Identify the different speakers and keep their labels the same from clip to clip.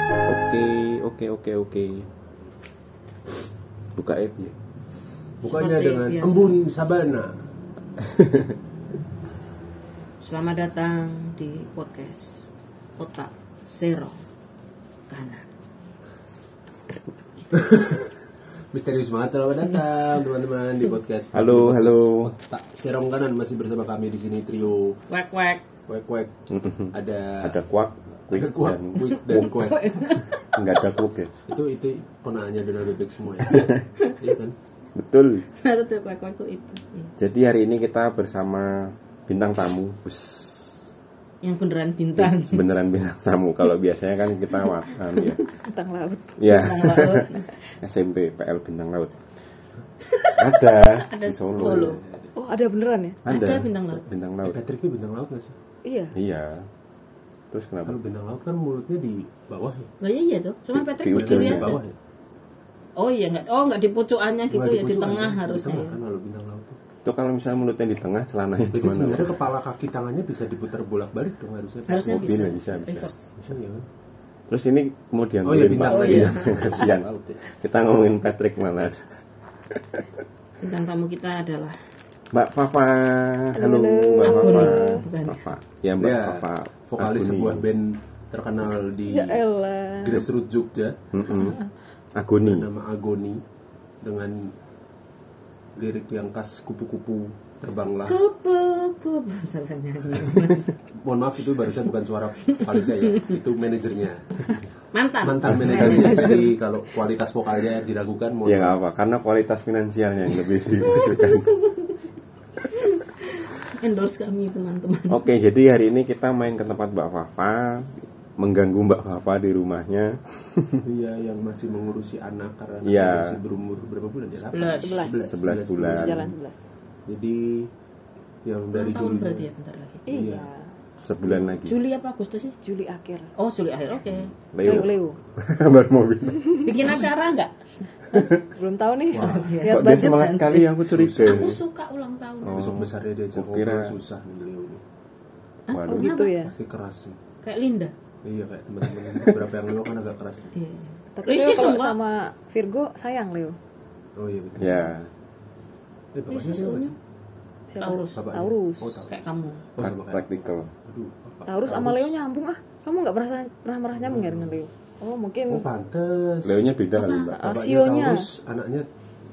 Speaker 1: oke oke oke oke buka app ya
Speaker 2: Bukannya
Speaker 3: Seperti
Speaker 2: dengan
Speaker 3: biasa.
Speaker 2: embun sabana.
Speaker 3: Selamat datang di podcast Otak Zero Kanan.
Speaker 2: Misterius banget selamat datang teman-teman di podcast.
Speaker 1: Halo,
Speaker 2: Masih di podcast
Speaker 1: halo.
Speaker 2: Otak Serong kanan masih bersama kami di sini trio
Speaker 3: Wek wek.
Speaker 2: Kwek Kwek. Ada
Speaker 1: ada kuak
Speaker 2: ada
Speaker 1: quick
Speaker 2: kuak,
Speaker 1: dan
Speaker 2: Kwik dan Kwek.
Speaker 1: nggak ada kuak ya
Speaker 2: Itu itu penahannya Donald Bebek semua ya. Iya kan?
Speaker 1: betul
Speaker 3: Nah itu tuh wek wek tuh itu. Iya.
Speaker 1: jadi hari ini kita bersama bintang tamu Wus,
Speaker 3: Yang beneran bintang.
Speaker 1: beneran bintang tamu kalau biasanya kan kita watan ya
Speaker 4: tentang laut
Speaker 1: ya
Speaker 3: Bintang laut.
Speaker 1: SMP PL bintang laut ada,
Speaker 3: Ada
Speaker 1: di Solo,
Speaker 3: Solo.
Speaker 4: oh ada beneran ya
Speaker 3: Ada bintang laut.
Speaker 1: bintang
Speaker 2: Eh,
Speaker 1: laut
Speaker 2: Patrick itu bintang laut gak sih?
Speaker 4: iya
Speaker 1: iya terus kenapa
Speaker 2: Kalau bintang laut kan mulutnya di bawah ya.
Speaker 3: Loh iya iya tuh. Cuma Patrick
Speaker 1: di
Speaker 3: berdiri
Speaker 1: ujungnya.
Speaker 2: Di
Speaker 3: aja.
Speaker 2: bawah ya.
Speaker 3: Oh iya enggak. Oh enggak di pucukannya gitu
Speaker 2: Nggak
Speaker 3: ya di
Speaker 2: pucuk,
Speaker 3: tengah
Speaker 2: kan? Di
Speaker 3: harusnya. ya.
Speaker 2: tengah kan kalau bintang laut tuh.
Speaker 1: itu kalau misalnya mulutnya di tengah celananya
Speaker 2: Jadi
Speaker 1: gimana
Speaker 2: sebenarnya kepala kaki tangannya bisa diputar bolak-balik dong harusnya.
Speaker 3: Harusnya
Speaker 1: Mobil
Speaker 3: bisa.
Speaker 1: ya, bisa, bisa.
Speaker 3: Reverse.
Speaker 2: Bisa ya kan?
Speaker 1: terus ini kemudian
Speaker 2: Oh iya
Speaker 1: Pak.
Speaker 2: bintang laut.
Speaker 1: Iya,
Speaker 2: ya.
Speaker 1: kasihan
Speaker 2: Bintang laut ya.
Speaker 1: kita ngomongin Patrick malah
Speaker 3: Bintang tamu kita adalah
Speaker 1: Mbak Fafa halo Mbak
Speaker 3: Aguni,
Speaker 1: Fafa
Speaker 3: bukan.
Speaker 1: Fafa ya Mbak
Speaker 2: Ya,
Speaker 1: Fafa
Speaker 2: vokalis
Speaker 1: Aguni.
Speaker 2: sebuah band terkenal di
Speaker 4: ya elah
Speaker 2: grassroots Jogja
Speaker 1: Mm-mm. Aguni
Speaker 2: nama Agoni dengan lirik yang khas kupu-kupu terbanglah
Speaker 3: kupu kupu sampai nyanyi.
Speaker 2: mohon maaf itu barusan bukan suara vokalisnya ya itu manajernya
Speaker 3: Mantan.
Speaker 2: mantan manajernya jadi kalau kualitas vokalnya diragukan mohon
Speaker 1: ya nggak
Speaker 2: maaf.
Speaker 1: apa karena kualitas finansialnya yang lebih dimasukkan
Speaker 3: Endorse kami teman-teman.
Speaker 1: Oke, jadi hari ini kita main ke tempat Mbak Fafa, mengganggu Mbak Fafa di rumahnya.
Speaker 2: Iya, yang masih mengurusi anak karena anaknya
Speaker 1: Iya.
Speaker 2: masih berumur berapa bulan ya
Speaker 3: Sebelas.
Speaker 1: 11 bulan.
Speaker 4: jalan sebelas
Speaker 2: jadi yang dari
Speaker 3: Tahun
Speaker 2: dulu
Speaker 3: berarti ya bentar lagi.
Speaker 4: iya
Speaker 1: Sebulan lagi.
Speaker 3: Juli apa Agustus sih?
Speaker 4: Juli akhir
Speaker 3: Oh, Juli akhir. Oke.
Speaker 4: Leo
Speaker 1: Leo.
Speaker 4: Leo Iya.
Speaker 1: Baru mau bilang.
Speaker 3: Bikin acara enggak?
Speaker 4: belum tahu nih lihat
Speaker 1: Kok dia
Speaker 4: budget
Speaker 1: semangat
Speaker 4: kan?
Speaker 1: sekali yang aku curiga.
Speaker 3: Aku suka ulang tahun.
Speaker 2: besok besarnya dia
Speaker 1: Oh, kira-
Speaker 2: ngobrol susah nih Leo nih
Speaker 4: oh
Speaker 1: Waduh.
Speaker 4: gitu ya
Speaker 2: pasti keras sih
Speaker 3: Kayak Linda.
Speaker 2: Iya kayak teman-teman beberapa yang lo kan agak keras.
Speaker 3: Iya.
Speaker 4: tapi
Speaker 3: Lisi
Speaker 4: Leo kalau
Speaker 3: semua.
Speaker 4: sama Virgo sayang Leo
Speaker 2: Oh iya betul.
Speaker 1: Ya,
Speaker 2: Eh, bapaknya
Speaker 3: Lisi
Speaker 2: siapa
Speaker 3: semuanya.
Speaker 2: sih?
Speaker 4: siapa
Speaker 3: Taurus.
Speaker 2: Bapaknya?
Speaker 4: Taurus
Speaker 2: Oh, Taurus.
Speaker 3: Kayak kamu.
Speaker 2: Oh, sama kayak.
Speaker 1: praktikal.
Speaker 2: Aduh, bapak.
Speaker 4: Taurus sama Leo nyambung ah kamu nggak merasa pernah merasa
Speaker 1: Hmm.
Speaker 4: nyambung ya dengan Leo oh mungkin
Speaker 2: Oh pantes.
Speaker 1: Leonya beda kali, Mbak.
Speaker 4: Ah,
Speaker 2: Bapaknya
Speaker 4: Sionya.
Speaker 2: Taurus, anaknya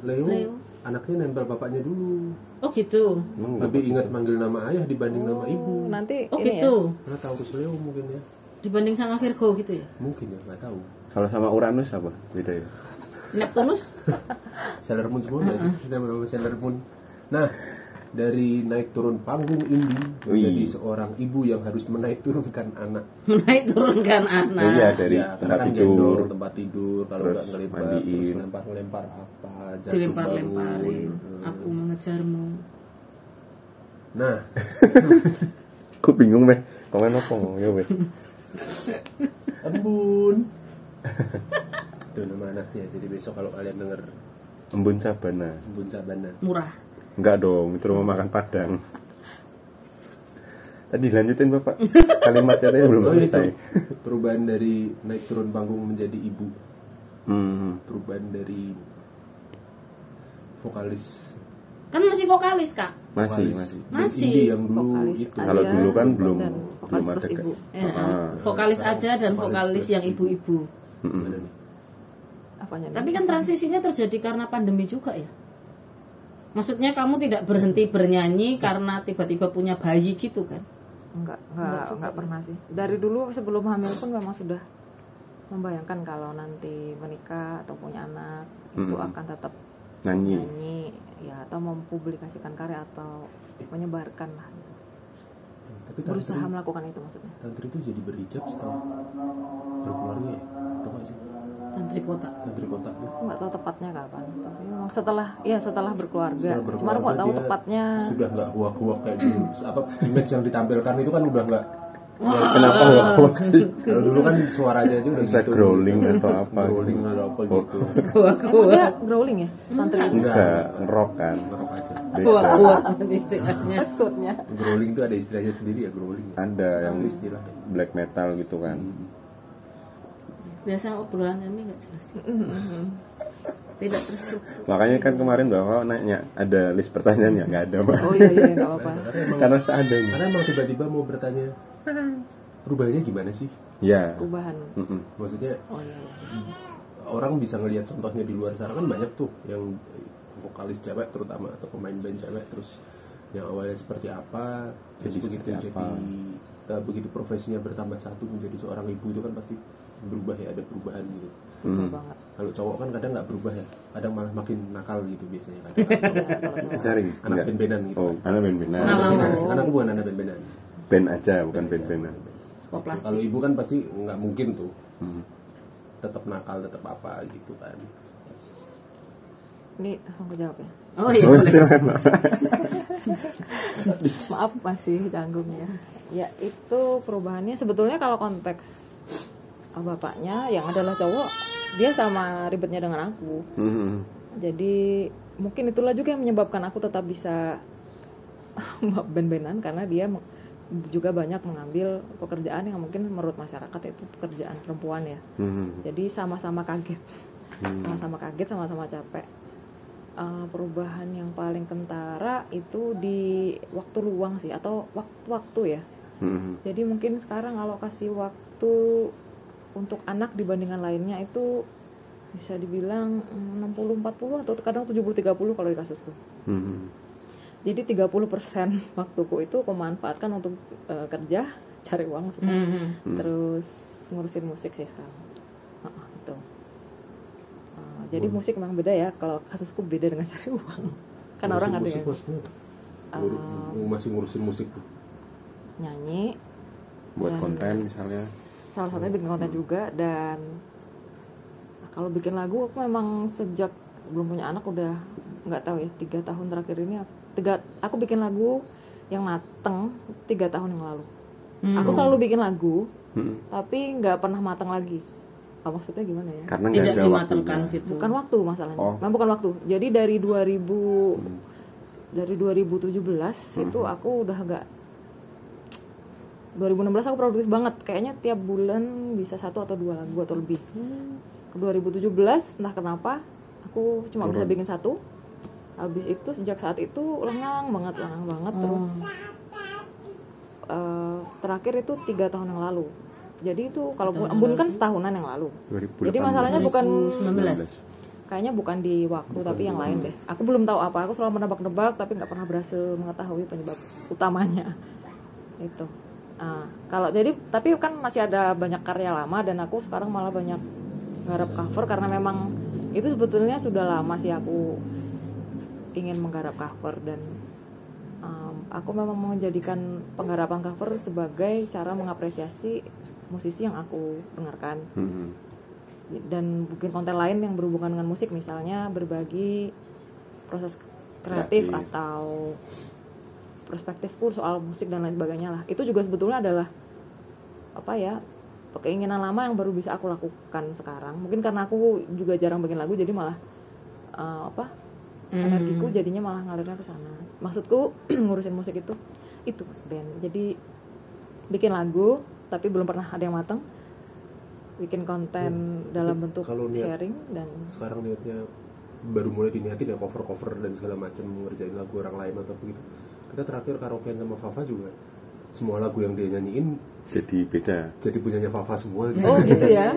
Speaker 2: Leo.
Speaker 3: Leo.
Speaker 2: Anaknya nempel bapaknya dulu.
Speaker 3: Oh gitu.
Speaker 1: Emang
Speaker 2: Lebih
Speaker 1: nggak-
Speaker 2: ingat manggil nama ayah dibanding nama ibu.
Speaker 4: oh, nanti
Speaker 3: Oh
Speaker 4: ini
Speaker 3: gitu.
Speaker 4: ya
Speaker 2: Karena Taurus Leo mungkin ya.
Speaker 3: Dibanding sama Virgo gitu ya.
Speaker 2: Mungkin ya nggak tahu.
Speaker 1: Kalau sama Uranus apa? Beda ya.
Speaker 3: Neptunus
Speaker 2: Sailor Moon semua nggak sih? Nama-nama Sailor Moon. Nah, dari naik turun panggung ini
Speaker 1: Wih.
Speaker 2: menjadi seorang ibu yang harus menaik turunkan anak
Speaker 3: menaik turunkan
Speaker 4: Nah,
Speaker 3: anak.
Speaker 1: Iya, dari
Speaker 2: ya,
Speaker 1: tempat
Speaker 2: kan
Speaker 1: tidur.
Speaker 2: gendong, tempat tidur kalau
Speaker 1: Terus
Speaker 2: nggak ngelebar
Speaker 1: mandiin.
Speaker 2: terus lempar lempar apa jatuh
Speaker 3: Dilempar-lemparin.
Speaker 2: bangun.
Speaker 3: Aku mengejarmu.
Speaker 2: nah
Speaker 1: Aku bingung deh. Komen apa ngomong ya wes.
Speaker 2: embun itu nama anaknya jadi besok kalau kalian denger
Speaker 1: Embun Sabana.
Speaker 2: embun sabana
Speaker 3: Murah.
Speaker 1: Enggak dong, itu rumah makan Padang. Tadi lanjutin Bapak. Kalimatnya belum
Speaker 2: oh itu
Speaker 1: selesai.
Speaker 2: perubahan dari naik turun panggung menjadi ibu
Speaker 1: Hmm.
Speaker 2: perubahan dari vokalis
Speaker 3: Kan masih vokalis, Kak.
Speaker 1: Masih,
Speaker 2: vokalis
Speaker 1: masih.
Speaker 2: band
Speaker 3: Masih.
Speaker 2: indie yang dulu
Speaker 4: vokalis
Speaker 2: itu
Speaker 4: aja
Speaker 1: Hmm, Kalau dulu kan belum
Speaker 4: dan vokalis
Speaker 1: belum
Speaker 4: plus
Speaker 1: ada ke-
Speaker 4: ibu Eh,
Speaker 3: Ya,
Speaker 1: Ah.
Speaker 3: vokalis aja dan vokalis yang ibu-ibu.
Speaker 2: Gimana nih?
Speaker 4: apanya nih?
Speaker 3: Tapi kan transisinya terjadi karena pandemi juga ya. Maksudnya kamu tidak berhenti bernyanyi
Speaker 1: Iya.
Speaker 3: karena tiba-tiba punya bayi gitu kan?
Speaker 4: Enggak, enggak, enggak pernah sih. Dari dulu sebelum hamil pun memang sudah membayangkan kalau nanti menikah atau punya anak itu
Speaker 1: Mm-mm.
Speaker 4: akan tetap
Speaker 1: Nyanyi.
Speaker 2: Hmm.
Speaker 4: nyanyi ya atau mempublikasikan karya atau menyebarkan lah.
Speaker 2: tapi
Speaker 4: Berusaha
Speaker 2: tantri,
Speaker 4: melakukan itu maksudnya.
Speaker 2: tantri itu jadi berhijab setelah berkeluarga ya atau nggak sih
Speaker 3: Tantri kota.
Speaker 2: tantri kontak tuh
Speaker 4: Aku nggak tahu tepatnya kapan. Tapi memang setelah ya setelah berkeluarga.
Speaker 2: Setelah
Speaker 4: Cuma aku nggak tahu
Speaker 2: berkeluarga,
Speaker 4: tepatnya. Mm.
Speaker 2: sudah nggak huak-huak kayak dulu apa image yang ditampilkan itu kan udah nggak
Speaker 1: Kenapa kok
Speaker 2: kalau dulu kan suaranya aja udah
Speaker 1: bisa
Speaker 2: gitu
Speaker 1: growling atau apa? gitu. Oh.
Speaker 2: growling atau apa gitu
Speaker 4: Emang dia growling ya? Tantri
Speaker 1: Enggak, rock kan.
Speaker 2: Ngerok aja
Speaker 1: Beda.
Speaker 3: Gitu ya.
Speaker 4: maksudnya.
Speaker 2: growling tuh ada istilahnya sendiri ya growling ya
Speaker 1: Ada yang
Speaker 2: Itu istilahnya
Speaker 1: black metal gitu kan.
Speaker 3: biasa obrolan kami nggak jelas ya. tidak terstruktur
Speaker 1: Makanya kan kemarin bahwa nanya ada list pertanyaan ya nggak ada pak,
Speaker 4: oh iya iya nggak apa-apa
Speaker 2: Karena emang,
Speaker 1: karena seadanya.
Speaker 2: karena emang tiba-tiba mau bertanya
Speaker 4: Hmm.
Speaker 2: perubahannya gimana sih?
Speaker 1: Ya.
Speaker 4: perubahan
Speaker 1: Mm-mm.
Speaker 2: Maksudnya
Speaker 4: oh iya iya
Speaker 2: orang bisa ngelihat contohnya di luar sana kan banyak tuh yang vokalis cewek terutama atau pemain band cewek terus yang awalnya seperti apa terus
Speaker 1: Jadi
Speaker 2: begitu
Speaker 1: seperti
Speaker 2: jadi
Speaker 1: apa.
Speaker 2: eh, begitu profesinya bertambah satu menjadi seorang ibu itu kan pasti berubah ya ada perubahan gitu
Speaker 4: betul
Speaker 1: Hmm.
Speaker 4: banget
Speaker 2: kalau cowok kan kadang nggak berubah ya kadang malah makin nakal gitu biasanya kadang
Speaker 4: Iya, kalau cowok.
Speaker 1: Sering.
Speaker 2: anak
Speaker 1: Enggak.
Speaker 2: band-bandan gitu
Speaker 1: Oh, anak band-bandan.
Speaker 3: Anak
Speaker 2: Anak band-bandan.
Speaker 3: Oh.
Speaker 2: anakku bukan anak band-bandan
Speaker 1: Band aja, bukan band-bandan.
Speaker 3: sekolah plastik
Speaker 2: kalau ibu kan pasti nggak mungkin tuh
Speaker 1: Hmm.
Speaker 2: tetap nakal tetap apa gitu kan
Speaker 4: ini langsung kejawab ya
Speaker 3: oh iya
Speaker 1: Oh,
Speaker 3: boleh.
Speaker 1: silakan Mbak.
Speaker 4: maaf masih canggung ya ya itu perubahannya sebetulnya kalau konteks eh, bapaknya yang adalah cowok dia sama ribetnya dengan aku
Speaker 1: Mm-mm.
Speaker 4: jadi mungkin itulah juga yang menyebabkan aku tetap bisa ben-benan karena dia me- juga banyak mengambil pekerjaan yang mungkin menurut masyarakat itu pekerjaan perempuan ya
Speaker 1: Mm-mm.
Speaker 4: jadi sama-sama kaget
Speaker 1: Hmm.
Speaker 4: sama-sama kaget sama-sama capek Eh, perubahan yang paling kentara itu di waktu luang sih atau waktu-waktu ya
Speaker 1: Mm-mm.
Speaker 4: jadi mungkin sekarang alokasi waktu untuk anak dibandingkan lainnya itu bisa dibilang mm, 60-40 atau kadang 70-30 kalau di kasusku.
Speaker 1: Mm-mm.
Speaker 4: Jadi 30% waktuku itu aku manfaatkan untuk eh, kerja, cari uang,
Speaker 3: Hmm, hmm.
Speaker 4: terus ngurusin musik sih sekarang. Ah, itu. Eh, jadi musik memang beda ya, kalau kasusku beda dengan cari uang. Kan Oh. orang ada
Speaker 2: musik
Speaker 4: yang
Speaker 2: maksudnya nguru- masih ngurusin musik tuh
Speaker 4: nyanyi,
Speaker 1: Buat konten misalnya.
Speaker 4: salah satunya bikin konten juga dan kalau bikin lagu aku memang sejak belum punya anak udah nggak tahu ya tiga tahun terakhir ini aku- tiga aku bikin lagu yang mateng tiga tahun yang lalu
Speaker 3: Hmm.
Speaker 4: aku selalu bikin lagu
Speaker 1: Mm-mm.
Speaker 4: tapi nggak pernah mateng lagi Ah, maksudnya gimana ya
Speaker 1: Karena nggak
Speaker 3: tidak
Speaker 1: ada waktunya.
Speaker 3: dimatangkan gitu
Speaker 4: bukan waktu masalahnya
Speaker 1: Oh.
Speaker 4: Memang bukan waktu jadi dari 2000 Hmm. dari 2017 itu aku udah agak 2016 aku produktif banget kayaknya tiap bulan bisa satu atau dua lagu atau lebih ke 2017 entah kenapa aku cuma bisa bikin satu habis itu sejak saat itu lengang banget lengang banget terus eh, terakhir itu tiga tahun yang lalu jadi itu kalau Embun kan setahunan yang lalu
Speaker 1: 2018.
Speaker 4: jadi masalahnya
Speaker 1: Hmm,
Speaker 4: bukan
Speaker 3: 19
Speaker 4: kayaknya bukan di waktu tapi yang lain deh aku belum tahu apa aku selalu menebak-nebak tapi nggak pernah berhasil mengetahui penyebab utamanya itu Ah, kalau jadi tapi kan masih ada banyak karya lama dan aku sekarang malah banyak garap cover karena memang itu sebetulnya sudah lama sih aku ingin menggarap cover dan um, aku memang menjadikan penggarapan cover sebagai cara mengapresiasi musisi yang aku dengarkan
Speaker 1: Mm-mm.
Speaker 4: dan mungkin konten lain yang berhubungan dengan musik misalnya berbagi proses kreatif,
Speaker 1: Kreatif.
Speaker 4: atau perspektifku soal musik dan lain sebagainya lah itu juga sebetulnya adalah apa ya keinginan lama yang baru bisa aku lakukan sekarang mungkin karena aku juga jarang bikin lagu jadi malah eh, apa energiku jadinya malah ngalirnya ke sana maksudku ngurusin musik itu itu mas Ben jadi bikin lagu tapi belum pernah ada yang mateng bikin konten dalam bentuk
Speaker 2: Hmm. kalau niat-
Speaker 4: sharing dan
Speaker 2: sekarang niatnya baru mulai diniatin ya cover cover dan segala macam ngerjain lagu orang lain atau begitu kita terakhir karaokean sama Fafa juga semua lagu yang dia nyanyiin
Speaker 1: Jadi beda.
Speaker 2: jadi punyanya Fafa semua gitu.
Speaker 4: oh gitu ya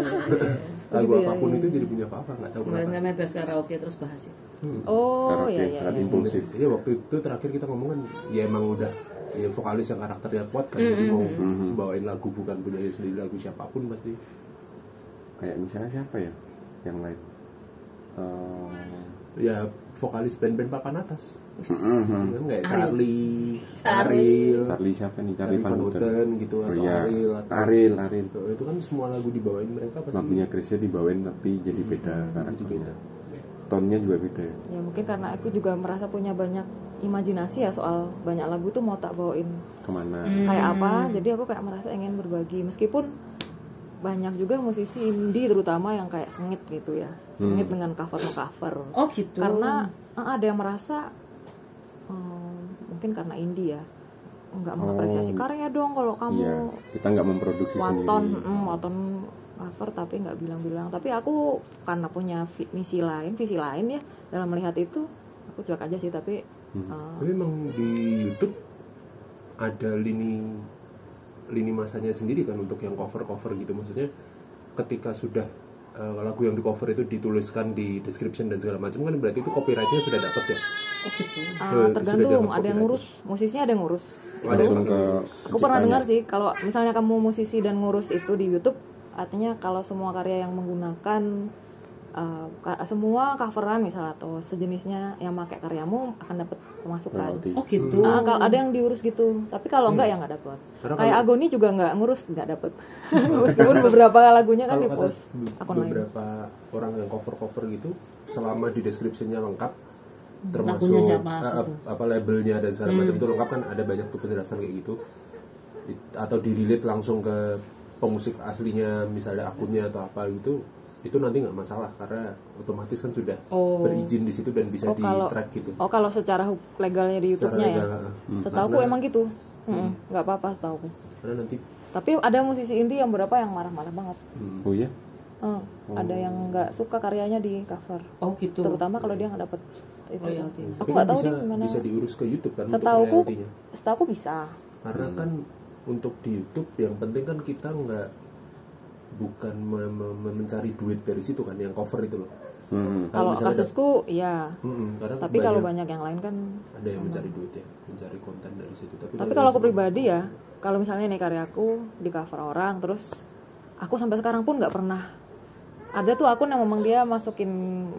Speaker 2: lagu
Speaker 4: gitu ya,
Speaker 2: apapun
Speaker 4: iya,
Speaker 2: itu jadi punya Fafa nggak tahu
Speaker 3: kemarin
Speaker 2: kenapa
Speaker 3: kami habis karaoke terus bahas itu
Speaker 2: Hmm.
Speaker 4: oh
Speaker 1: Karaoke
Speaker 4: ya
Speaker 1: yang
Speaker 4: ya,
Speaker 1: sangat
Speaker 4: ya.
Speaker 1: impulsif.
Speaker 2: Iya waktu itu terakhir kita ngomong kan ya emang udah ya vokalis yang karakternya kuat kan jadi
Speaker 4: Mm-hmm.
Speaker 2: mau bawain lagu bukan punya sendiri lagu siapapun pasti
Speaker 1: Kayak misalnya siapa ya? Yang lain. Eh,
Speaker 2: ya vokalis band-band papan atas Kan nggak ya?
Speaker 3: Ariel.
Speaker 2: Charlie,
Speaker 3: Charlie.
Speaker 2: Ariel,
Speaker 1: Mm-hmm. Charlie siapa nih?
Speaker 2: Charlie
Speaker 1: Charlie Van Houten.
Speaker 2: gitu
Speaker 1: Oh,
Speaker 2: atau
Speaker 1: iya.
Speaker 2: Ariel atau
Speaker 1: Ariel, Ariel.
Speaker 2: Tuh, itu kan semua lagu dibawain mereka pasti
Speaker 1: Lagunya Chrisnya dibawain tapi jadi beda karakternya.
Speaker 2: beda.
Speaker 1: Tonnya juga beda ya.
Speaker 4: ya mungkin karena aku juga merasa punya banyak imajinasi ya soal banyak lagu tuh mau tak bawain
Speaker 1: Kemana?
Speaker 4: kayak
Speaker 3: Hmm.
Speaker 4: apa jadi aku kayak merasa ingin berbagi meskipun banyak juga musisi indie terutama yang kayak sengit gitu ya sengit
Speaker 2: Hmm.
Speaker 4: dengan cover cover
Speaker 3: oh gitu
Speaker 4: karena eh, ada yang merasa eh, mungkin karena indie ya nggak mengapresiasi karya dong kalau kamu
Speaker 1: Iya. Kita nggak memproduksi
Speaker 4: waton
Speaker 1: sendiri.
Speaker 4: mm, waton cover tapi nggak bilang-bilang tapi aku karena punya vi- misi lain visi lain ya dalam melihat itu aku cuek aja sih tapi eh,
Speaker 2: Tapi emang di YouTube ada lini lini masanya sendiri kan untuk yang cover-cover gitu. Maksudnya ketika sudah eh, lagu yang di cover itu dituliskan di description dan segala macam kan berarti itu copyrightnya sudah dapet ya.
Speaker 3: Oh, gitu.
Speaker 4: ah,
Speaker 2: sudah
Speaker 4: tergantung
Speaker 2: dianggap
Speaker 4: ada yang
Speaker 2: copyright.
Speaker 4: ngurus musisinya ada yang ngurus
Speaker 1: langsung ke
Speaker 4: aku pernah
Speaker 1: penciptanya.
Speaker 4: dengar sih kalau misalnya kamu musisi dan ngurus itu di YouTube artinya kalau semua karya yang menggunakan eh, ka- semua coveran misalnya atau sejenisnya yang pakai karyamu akan dapat pemasukan
Speaker 1: Royalty.
Speaker 3: Oh gitu.
Speaker 4: Ah, kalau ada yang diurus gitu tapi kalau
Speaker 2: Hmm.
Speaker 4: enggak ya nggak dapat
Speaker 2: Karena
Speaker 4: kayak Agoni juga nggak ngurus nggak dapet meskipun beberapa lagunya kan
Speaker 2: kalau
Speaker 4: di
Speaker 2: kata
Speaker 4: post
Speaker 2: be-
Speaker 4: akun lain
Speaker 2: beberapa orang yang cover cover gitu selama di descriptionnya lengkap
Speaker 4: Hmm,
Speaker 2: termasuk
Speaker 3: Lagunya siapa,
Speaker 2: eh,
Speaker 3: gitu.
Speaker 2: apa labelnya dan segala macam itu lengkap kan ada banyak tuh penjelasan kayak gitu It- atau dirilit langsung ke pemusik aslinya misalnya akunnya atau apa gitu itu nanti nggak masalah karena otomatis kan sudah
Speaker 3: Oh.
Speaker 2: berizin di situ dan bisa
Speaker 4: Oh,
Speaker 2: di
Speaker 4: kalau-
Speaker 2: track gitu
Speaker 4: oh kalau secara huk- legalnya di
Speaker 2: Secara
Speaker 4: YouTube-nya ya
Speaker 2: legal, eh.
Speaker 4: setauku
Speaker 2: Karena- Hmm.
Speaker 4: emang gitu Mm-mm, nggak apa-apa setauku
Speaker 2: karena nanti
Speaker 4: tapi ada musisi indie yang berapa yang marah-marah banget
Speaker 2: hmm,
Speaker 1: Oh iya.
Speaker 4: Eh, ada yang nggak suka karyanya di cover
Speaker 3: Oh gitu.
Speaker 4: terutama kalau dia nggak dapet itu
Speaker 3: Royaltinya.
Speaker 4: aku
Speaker 2: tapi
Speaker 4: nggak
Speaker 2: kan
Speaker 4: tahu
Speaker 2: bisa
Speaker 4: dia gimana
Speaker 2: bisa diurus ke YouTube kan untuk
Speaker 4: Setauku-
Speaker 2: royaltinya.
Speaker 4: setauku bisa
Speaker 2: karena
Speaker 4: Hmm.
Speaker 2: kan untuk di YouTube yang penting kan kita nggak bukan me- me- me- mencari duit dari situ kan yang cover itu loh
Speaker 1: Hmm.
Speaker 4: kalau
Speaker 2: misalnya
Speaker 4: kasusku iya
Speaker 2: Mm-mm, karena
Speaker 4: tapi kalau banyak yang lain kan
Speaker 2: ada yang mencari duit ya mencari konten dari situ tapi,
Speaker 4: tapi kalau aku pribadi ya kalau misalnya nih karyaku di cover orang terus aku sampai sekarang pun nggak pernah ada tuh akun yang memang dia masukin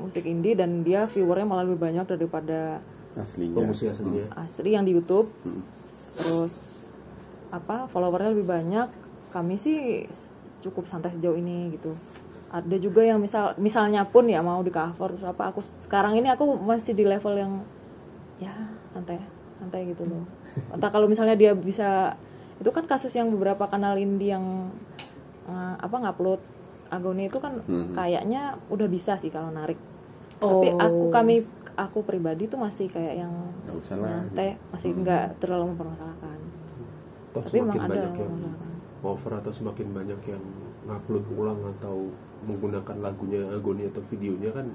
Speaker 4: musik indie dan dia viewernya malah lebih banyak daripada
Speaker 1: Aslinya.
Speaker 4: Ya.
Speaker 2: pemusik aslinya
Speaker 4: asli yang di YouTube terus apa followernya lebih banyak kami sih cukup santai sejauh ini gitu ada juga yang misal misalnya pun ya mau di cover terus apa aku sekarang ini aku masih di level yang ya santai santai gitu loh entah kalau misalnya dia bisa itu kan kasus yang beberapa kanal indie yang eh, apa ngupload Agoni itu kan kayaknya udah bisa sih kalau narik tapi
Speaker 3: Oh.
Speaker 4: aku kami aku pribadi tuh masih kayak yang
Speaker 1: Nggak usah lah.
Speaker 4: nyantai Nah, masih nggak terlalu mempermasalahkan
Speaker 2: Toh
Speaker 4: tapi
Speaker 2: Hmm. Oh, semakin
Speaker 4: emang
Speaker 2: banyak
Speaker 4: ada
Speaker 2: ya?
Speaker 4: yang
Speaker 2: yang
Speaker 4: mempermasalahkan
Speaker 2: cover atau semakin banyak yang ngupload ulang atau menggunakan lagunya Agoni atau videonya kan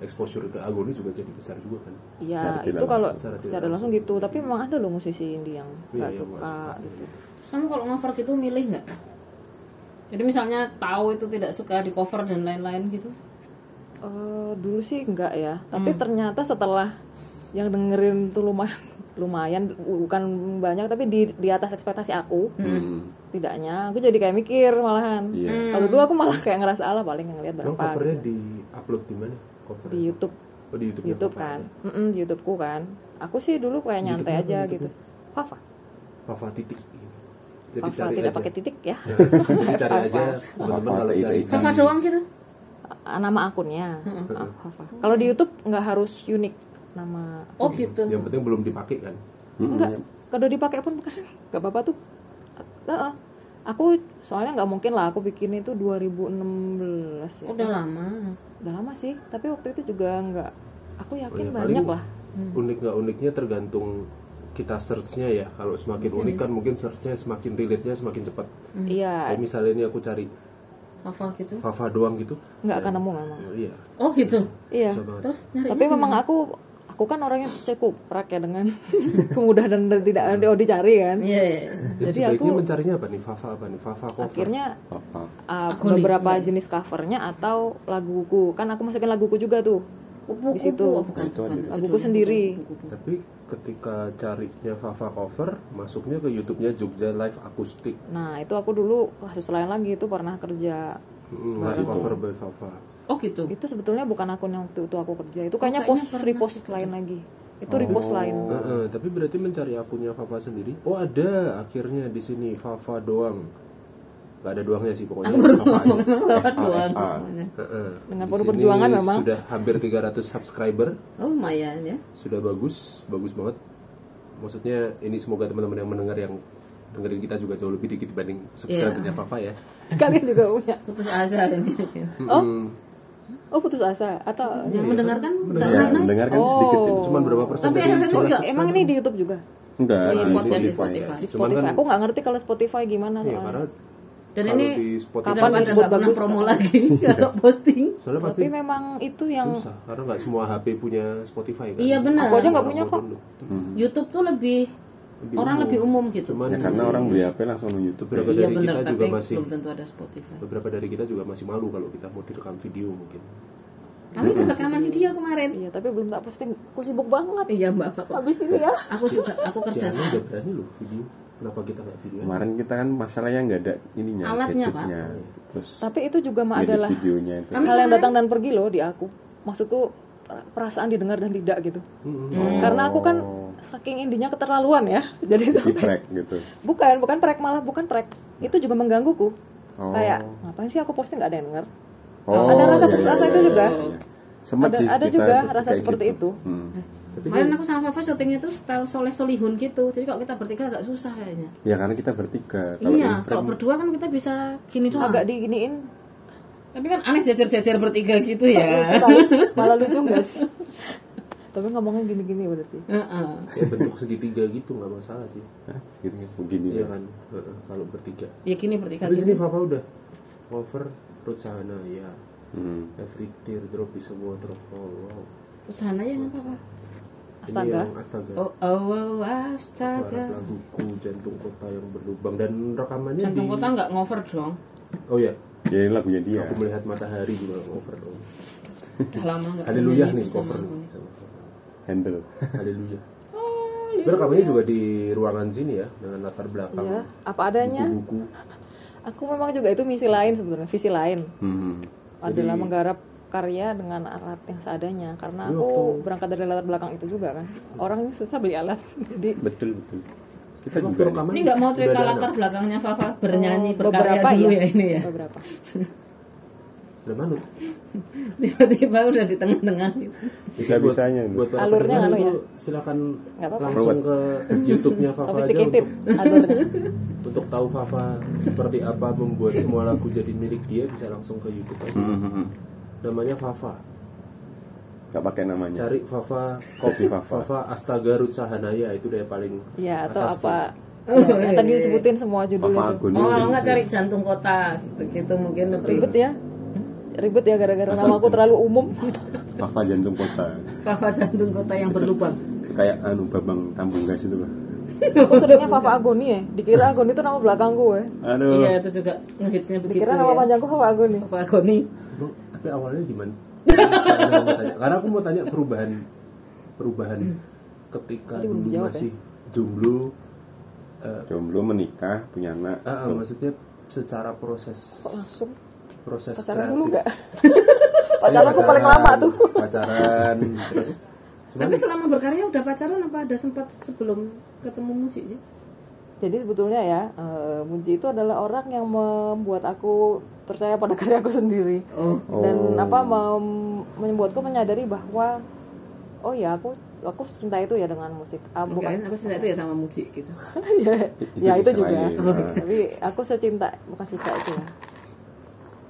Speaker 2: exposure ke Agoni juga jadi besar juga kan
Speaker 4: iya
Speaker 1: Secara tidak
Speaker 4: itu kalau
Speaker 2: langsung. Secara tidak
Speaker 4: secara langsung gitu tapi memang ada loh musisi indie yang nggak
Speaker 2: Iya, yang nggak
Speaker 4: suka
Speaker 2: suka.
Speaker 4: gitu
Speaker 3: Terus Kamu kalau cover gitu milih nggak? Jadi misalnya tahu itu tidak suka di cover dan lain-lain gitu.
Speaker 4: Eh, dulu sih nggak ya tapi
Speaker 2: Hmm.
Speaker 4: ternyata setelah yang dengerin tuh lumayan lumayan bukan banyak tapi di di atas ekspektasi aku
Speaker 1: Hmm.
Speaker 4: tidaknya aku jadi kayak mikir malahan
Speaker 1: Iya.
Speaker 4: kalau dulu aku malah kayak ngerasa ala paling yang ngeliat
Speaker 2: Emang
Speaker 4: berapa
Speaker 2: covernya
Speaker 4: gitu.
Speaker 2: di upload di mana cover
Speaker 4: di YouTube
Speaker 2: oh, di YouTube
Speaker 4: YouTube kan Mm-mm, di YouTubeku kan aku sih dulu kayak nyantai
Speaker 2: YouTube-nya apa,
Speaker 4: aja gitu
Speaker 2: YouTube-nya?
Speaker 4: Fafa
Speaker 2: Fafa titik gitu. jadi
Speaker 4: Fafa
Speaker 2: cari
Speaker 4: tidak
Speaker 2: aja.
Speaker 4: pakai titik ya
Speaker 2: Jadi cari aja teman-teman
Speaker 1: Apa
Speaker 2: kalau
Speaker 1: itu
Speaker 2: cari
Speaker 1: itu?
Speaker 3: Cover doang gitu.
Speaker 4: Ah, nama akunnya Ah, Fafa. kalau di YouTube nggak harus unik nama
Speaker 3: Oh gitu.
Speaker 2: yang penting belum dipakai kan
Speaker 1: Hmm,
Speaker 4: nggak
Speaker 1: iya.
Speaker 4: kalau dipakai pun bukan nggak apa-apa tuh Ah, ah. aku soalnya nggak mungkin lah aku bikin itu 2016 ya.
Speaker 3: Udah lama.
Speaker 4: Udah lama sih tapi waktu itu juga nggak aku yakin
Speaker 2: Ya, paling
Speaker 4: banyak lah
Speaker 3: Hmm.
Speaker 2: unik nggak uniknya tergantung kita searchnya ya kalau semakin
Speaker 3: Iya.
Speaker 2: unik kan mungkin searchnya semakin relate nya semakin cepat
Speaker 3: Mm.
Speaker 4: iya
Speaker 2: kalau misalnya ini aku cari
Speaker 3: Cover gitu.
Speaker 2: Fafa doang gitu
Speaker 4: nggak akan nemu memang
Speaker 2: oh, iya
Speaker 3: Oh gitu.
Speaker 4: iya
Speaker 2: susah banget
Speaker 3: Terus nah, nyari
Speaker 4: tapi memang aku aku kan orangnya cukup prak ya dengan kemudahan dan tidak ada oh, dicari kan
Speaker 3: Iya. iya, iya.
Speaker 2: jadi,
Speaker 4: Jadi
Speaker 2: sebaiknya
Speaker 4: aku-
Speaker 2: mencarinya apa nih Fafa apa nih Fafa cover
Speaker 4: akhirnya
Speaker 1: Apa?
Speaker 4: uh,
Speaker 3: Aku nih,
Speaker 4: beberapa
Speaker 3: iya.
Speaker 4: jenis covernya atau laguku kan aku masukin laguku juga tuh
Speaker 3: Kupu-kupu.
Speaker 4: Di situ.
Speaker 3: Oh, bukan,
Speaker 1: Itu
Speaker 3: bukan.
Speaker 1: ada.
Speaker 4: Buku sendiri.
Speaker 3: Buku-buku.
Speaker 2: tapi ketika carinya Fafa cover masuknya ke YouTube-nya Jogja Live Akustik
Speaker 4: nah itu aku dulu kasus lain lagi itu pernah kerja
Speaker 2: Hmm, live cover by Fafa
Speaker 3: Oh gitu.
Speaker 4: itu sebetulnya bukan akun yang waktu itu aku kerja itu kayaknya
Speaker 3: kayaknya
Speaker 4: post repost lain lagi itu
Speaker 2: Oh.
Speaker 4: repost lain
Speaker 2: Heeh, tapi berarti mencari akunnya Fafa sendiri. Oh ada akhirnya di sini Fafa doang. Gak ada doangnya sih pokoknya. Fafa aja.
Speaker 3: Bapak doang.
Speaker 2: Heeh.
Speaker 4: Dengan
Speaker 2: Di
Speaker 4: penuh
Speaker 2: sini
Speaker 4: perjuangan memang.
Speaker 2: Sudah hampir 300 subscriber,
Speaker 3: Oh lumayan ya.
Speaker 2: sudah bagus, bagus banget. Maksudnya ini semoga teman-teman yang mendengar yang dengerin kita juga jauh lebih dikit dibanding subscribernya Fafa ya.
Speaker 4: kalian juga punya
Speaker 3: Putus asa ini.
Speaker 2: Oh.
Speaker 4: oh putus asa atau
Speaker 3: Yang mendengarkan nggak
Speaker 1: Ya,
Speaker 3: naik-naik.
Speaker 1: mendengarkan
Speaker 4: Oh.
Speaker 1: sedikit itu.
Speaker 2: Cuman berapa persen
Speaker 3: Tapi
Speaker 2: dari
Speaker 3: akhirnya
Speaker 2: jumlah
Speaker 3: juga
Speaker 4: emang ini di YouTube juga
Speaker 1: Enggak,
Speaker 3: Di
Speaker 1: di
Speaker 4: Iya,
Speaker 3: podcast, di
Speaker 1: Spotify.
Speaker 3: Spotify.
Speaker 4: di
Speaker 2: Cuman
Speaker 4: Spotify
Speaker 2: kan-
Speaker 4: aku nggak ngerti kalau Spotify gimana
Speaker 2: Ya,
Speaker 4: soalnya
Speaker 2: karena
Speaker 3: Dan
Speaker 2: Kalau
Speaker 3: ini
Speaker 2: di Spotify kan
Speaker 3: udah
Speaker 4: Kapan
Speaker 3: pada
Speaker 4: disebut
Speaker 3: nggak pernah
Speaker 4: bagus?
Speaker 3: promo lagi kalau
Speaker 2: Iya.
Speaker 3: posting.
Speaker 2: soalnya pasti
Speaker 4: tapi memang itu yang
Speaker 2: susah karena nggak semua HP punya Spotify kan.
Speaker 3: Iya, benar.
Speaker 4: Aku aja nggak punya
Speaker 2: Orang-orang
Speaker 4: kok.
Speaker 2: download.
Speaker 3: YouTube tuh lebih, orang
Speaker 2: Hmm. umum.
Speaker 3: lebih umum gitu.
Speaker 2: Cuman
Speaker 1: ya karena orang beli HP langsung nonton YouTube
Speaker 2: Berapa
Speaker 1: ya.
Speaker 3: iya
Speaker 2: dari
Speaker 3: benar,
Speaker 2: kita
Speaker 3: tapi
Speaker 2: juga masih-
Speaker 3: belum tentu ada Spotify.
Speaker 2: beberapa dari kita juga masih malu kalau kita mau direkam video mungkin.
Speaker 3: Kami
Speaker 2: Hmm.
Speaker 3: udah rekaman video kemarin.
Speaker 4: iya tapi belum tak posting aku sibuk banget
Speaker 3: Iya mbak, Pak.
Speaker 4: habis ini ya
Speaker 3: aku juga, aku kerja
Speaker 2: Jangan udah berani loh video. Kenapa kita nggak video? aja?
Speaker 1: kemarin kita kan masalahnya nggak ada ininya
Speaker 3: Alatnya,
Speaker 1: gadgetnya terus
Speaker 4: tapi itu juga
Speaker 2: Iya,
Speaker 4: mah
Speaker 1: edit
Speaker 4: adalah Kan
Speaker 1: videonya itu
Speaker 3: Kami
Speaker 4: hal yang
Speaker 3: kemarin-
Speaker 4: datang dan pergi loh di aku maksudku perasaan didengar dan tidak gitu
Speaker 2: Mm-mm.
Speaker 4: karena aku kan
Speaker 1: Oh.
Speaker 4: saking indinya keterlaluan ya jadi
Speaker 1: di
Speaker 4: itu
Speaker 1: track gitu
Speaker 4: bukan bukan prek malah bukan prek itu juga menggangguku
Speaker 1: oh
Speaker 4: kayak ngapain sih aku posting nggak ada yang denger
Speaker 1: Oh,
Speaker 4: ada rasa
Speaker 1: iya,
Speaker 4: putus asa
Speaker 1: iya,
Speaker 4: itu
Speaker 1: iya,
Speaker 4: juga?
Speaker 1: iya. Sempet
Speaker 4: Ada-
Speaker 1: sih
Speaker 4: ada
Speaker 1: kita
Speaker 4: juga
Speaker 1: itu
Speaker 4: rasa
Speaker 1: kayak
Speaker 4: seperti itu.
Speaker 1: Hmm.
Speaker 2: Tapi
Speaker 3: Kemarin aku sama Fafa syutingnya tuh style soleh solihun gitu. Jadi kalau kita bertiga agak susah kayaknya.
Speaker 1: ya karena kita bertiga kalau
Speaker 3: iya,
Speaker 1: in-frame
Speaker 3: kalau berdua kan kita bisa gini
Speaker 1: iya.
Speaker 3: doang.
Speaker 4: agak diginiin
Speaker 3: Tapi kan aneh jejer-jejer bertiga gitu ya.
Speaker 4: tahu, malah lucu nggak sih tapi ngomongnya gini-gini berarti
Speaker 3: Heeh.
Speaker 2: kayak bentuk segitiga gitu nggak masalah sih.
Speaker 1: Hah, segini ya, begini
Speaker 2: Iya kan. Heeh, Kalau bertiga.
Speaker 3: ya gini bertiga
Speaker 2: Habis ini
Speaker 3: gini.
Speaker 2: Papa udah cover Ruth Sahana ya.
Speaker 1: Hmm.
Speaker 2: Every teardrop is a waterfall. Wow.
Speaker 3: Usahana ya nggak apa-apa.
Speaker 2: Ini
Speaker 4: Astaga.
Speaker 2: yang Astaga.
Speaker 3: Oh, oh, oh,
Speaker 2: Barat
Speaker 3: astaga.
Speaker 2: laguku jantung kota yang berlubang dan rekamannya
Speaker 3: Jantung
Speaker 2: di
Speaker 3: kota nggak ngover dong.
Speaker 2: Oh ya,
Speaker 1: ya ini lagunya dia
Speaker 4: Iya.
Speaker 2: aku melihat matahari juga cover dong.
Speaker 3: Udah lama nggak
Speaker 2: Haleluya
Speaker 3: bernyanyi
Speaker 2: nih
Speaker 3: bersama
Speaker 2: cover
Speaker 3: aku
Speaker 2: nih.
Speaker 3: nih.
Speaker 1: handle
Speaker 2: Haleluya. Berkamannya juga di ruangan sini ya dengan latar belakang
Speaker 4: Iya, apa adanya.
Speaker 2: buku-buku.
Speaker 4: Aku memang juga itu misi lain sebenarnya, visi lain
Speaker 1: Hmm.
Speaker 4: adalah menggarap karya dengan alat yang seadanya karena
Speaker 2: Iya,
Speaker 4: aku berangkat dari latar belakang itu juga kan. Orang ini susah beli alat. Jadi
Speaker 1: betul betul kita
Speaker 2: Waktu
Speaker 1: juga nih.
Speaker 2: rekaman
Speaker 3: Ini nggak mau
Speaker 2: udah
Speaker 3: cerita
Speaker 2: ada
Speaker 3: latar belakangnya Fafa bernyanyi
Speaker 4: oh,
Speaker 3: berkarya dulu ya ini ya.
Speaker 4: Beberapa.
Speaker 2: Nah, anak. Udah manut.
Speaker 3: Tiba-tiba udah di tengah-tengah gitu.
Speaker 1: Bisa-bisanya
Speaker 2: Jadi
Speaker 1: nih.
Speaker 2: buat, buat para
Speaker 4: Alurnya
Speaker 2: pendengar
Speaker 4: anu ya?
Speaker 2: itu Silakan
Speaker 4: Nggak apa-apa.
Speaker 2: langsung ke YouTube-nya Fafa aja
Speaker 4: Sophisticated
Speaker 2: untuk
Speaker 4: alurnya.
Speaker 2: untuk tahu Fafa seperti apa membuat semua lagu jadi milik dia bisa langsung ke YouTube aja.
Speaker 1: Hmm, hmm, hmm.
Speaker 2: Namanya Fafa.
Speaker 1: nggak pakai namanya
Speaker 2: Cari Fafa Kopi
Speaker 1: Fafa.
Speaker 2: Fafa Astaga Ruth Sahanaya itu deh paling
Speaker 4: Ya, atau
Speaker 2: atas
Speaker 4: apa
Speaker 2: tuh.
Speaker 4: ya, yang
Speaker 3: iya,
Speaker 4: tadi disebutin semua judul
Speaker 1: Papa
Speaker 4: itu.
Speaker 1: Agun ini
Speaker 3: Oh, kalau
Speaker 1: dari
Speaker 3: nggak
Speaker 1: sini.
Speaker 3: cari jantung kota gitu-gitu mungkin lebih
Speaker 4: Ribet ya? Ribet ya gara-gara
Speaker 1: Asal-
Speaker 4: nama aku terlalu umum.
Speaker 1: Fafa jantung kota
Speaker 3: Fafa jantung kota yang berlubang.
Speaker 1: kayak anu babang tambung gas itu lah
Speaker 4: Aku sebutnya Papa Agoni ya. Dikira Agoni itu nama belakang gue.
Speaker 1: aduh
Speaker 3: Iya, itu juga ngehitsnya begitu.
Speaker 4: Dikira
Speaker 3: ya.
Speaker 4: nama panjangku Papa Agoni.
Speaker 3: Fafa Agoni.
Speaker 2: Bro, tapi awalnya gimana? Karena aku mau tanya. Karena aku mau tanya perubahan perubahan ketika
Speaker 4: Tadi belum
Speaker 2: dulu
Speaker 4: dijawab, ya?
Speaker 2: masih jomblo eh,
Speaker 1: jomblo menikah punya anak
Speaker 2: ah, ah,
Speaker 1: tuh.
Speaker 2: maksudnya secara proses
Speaker 4: Kok langsung
Speaker 2: proses
Speaker 4: pacaran
Speaker 2: kreatif.
Speaker 4: dulu nggak?
Speaker 2: Iya,
Speaker 4: pacaran aku paling lama tuh.
Speaker 2: Pacaran terus cuman
Speaker 3: Tapi selama berkarya udah pacaran apa ada sempat sebelum ketemu Muji sih?
Speaker 4: Jadi sebetulnya ya, eh, Muji itu adalah orang yang membuat aku percaya pada karya aku sendiri.
Speaker 3: Oh,
Speaker 4: Dan apa mem- membuatku menyadari bahwa oh ya aku aku cinta itu ya dengan musik. Ah,
Speaker 3: bukan
Speaker 4: bukan
Speaker 3: aku cinta itu ya sama Muji gitu.
Speaker 1: Itu
Speaker 4: ya itu
Speaker 1: sisi
Speaker 4: juga.
Speaker 1: lain. Nah,
Speaker 4: Tapi aku secinta bukan cinta itu ya.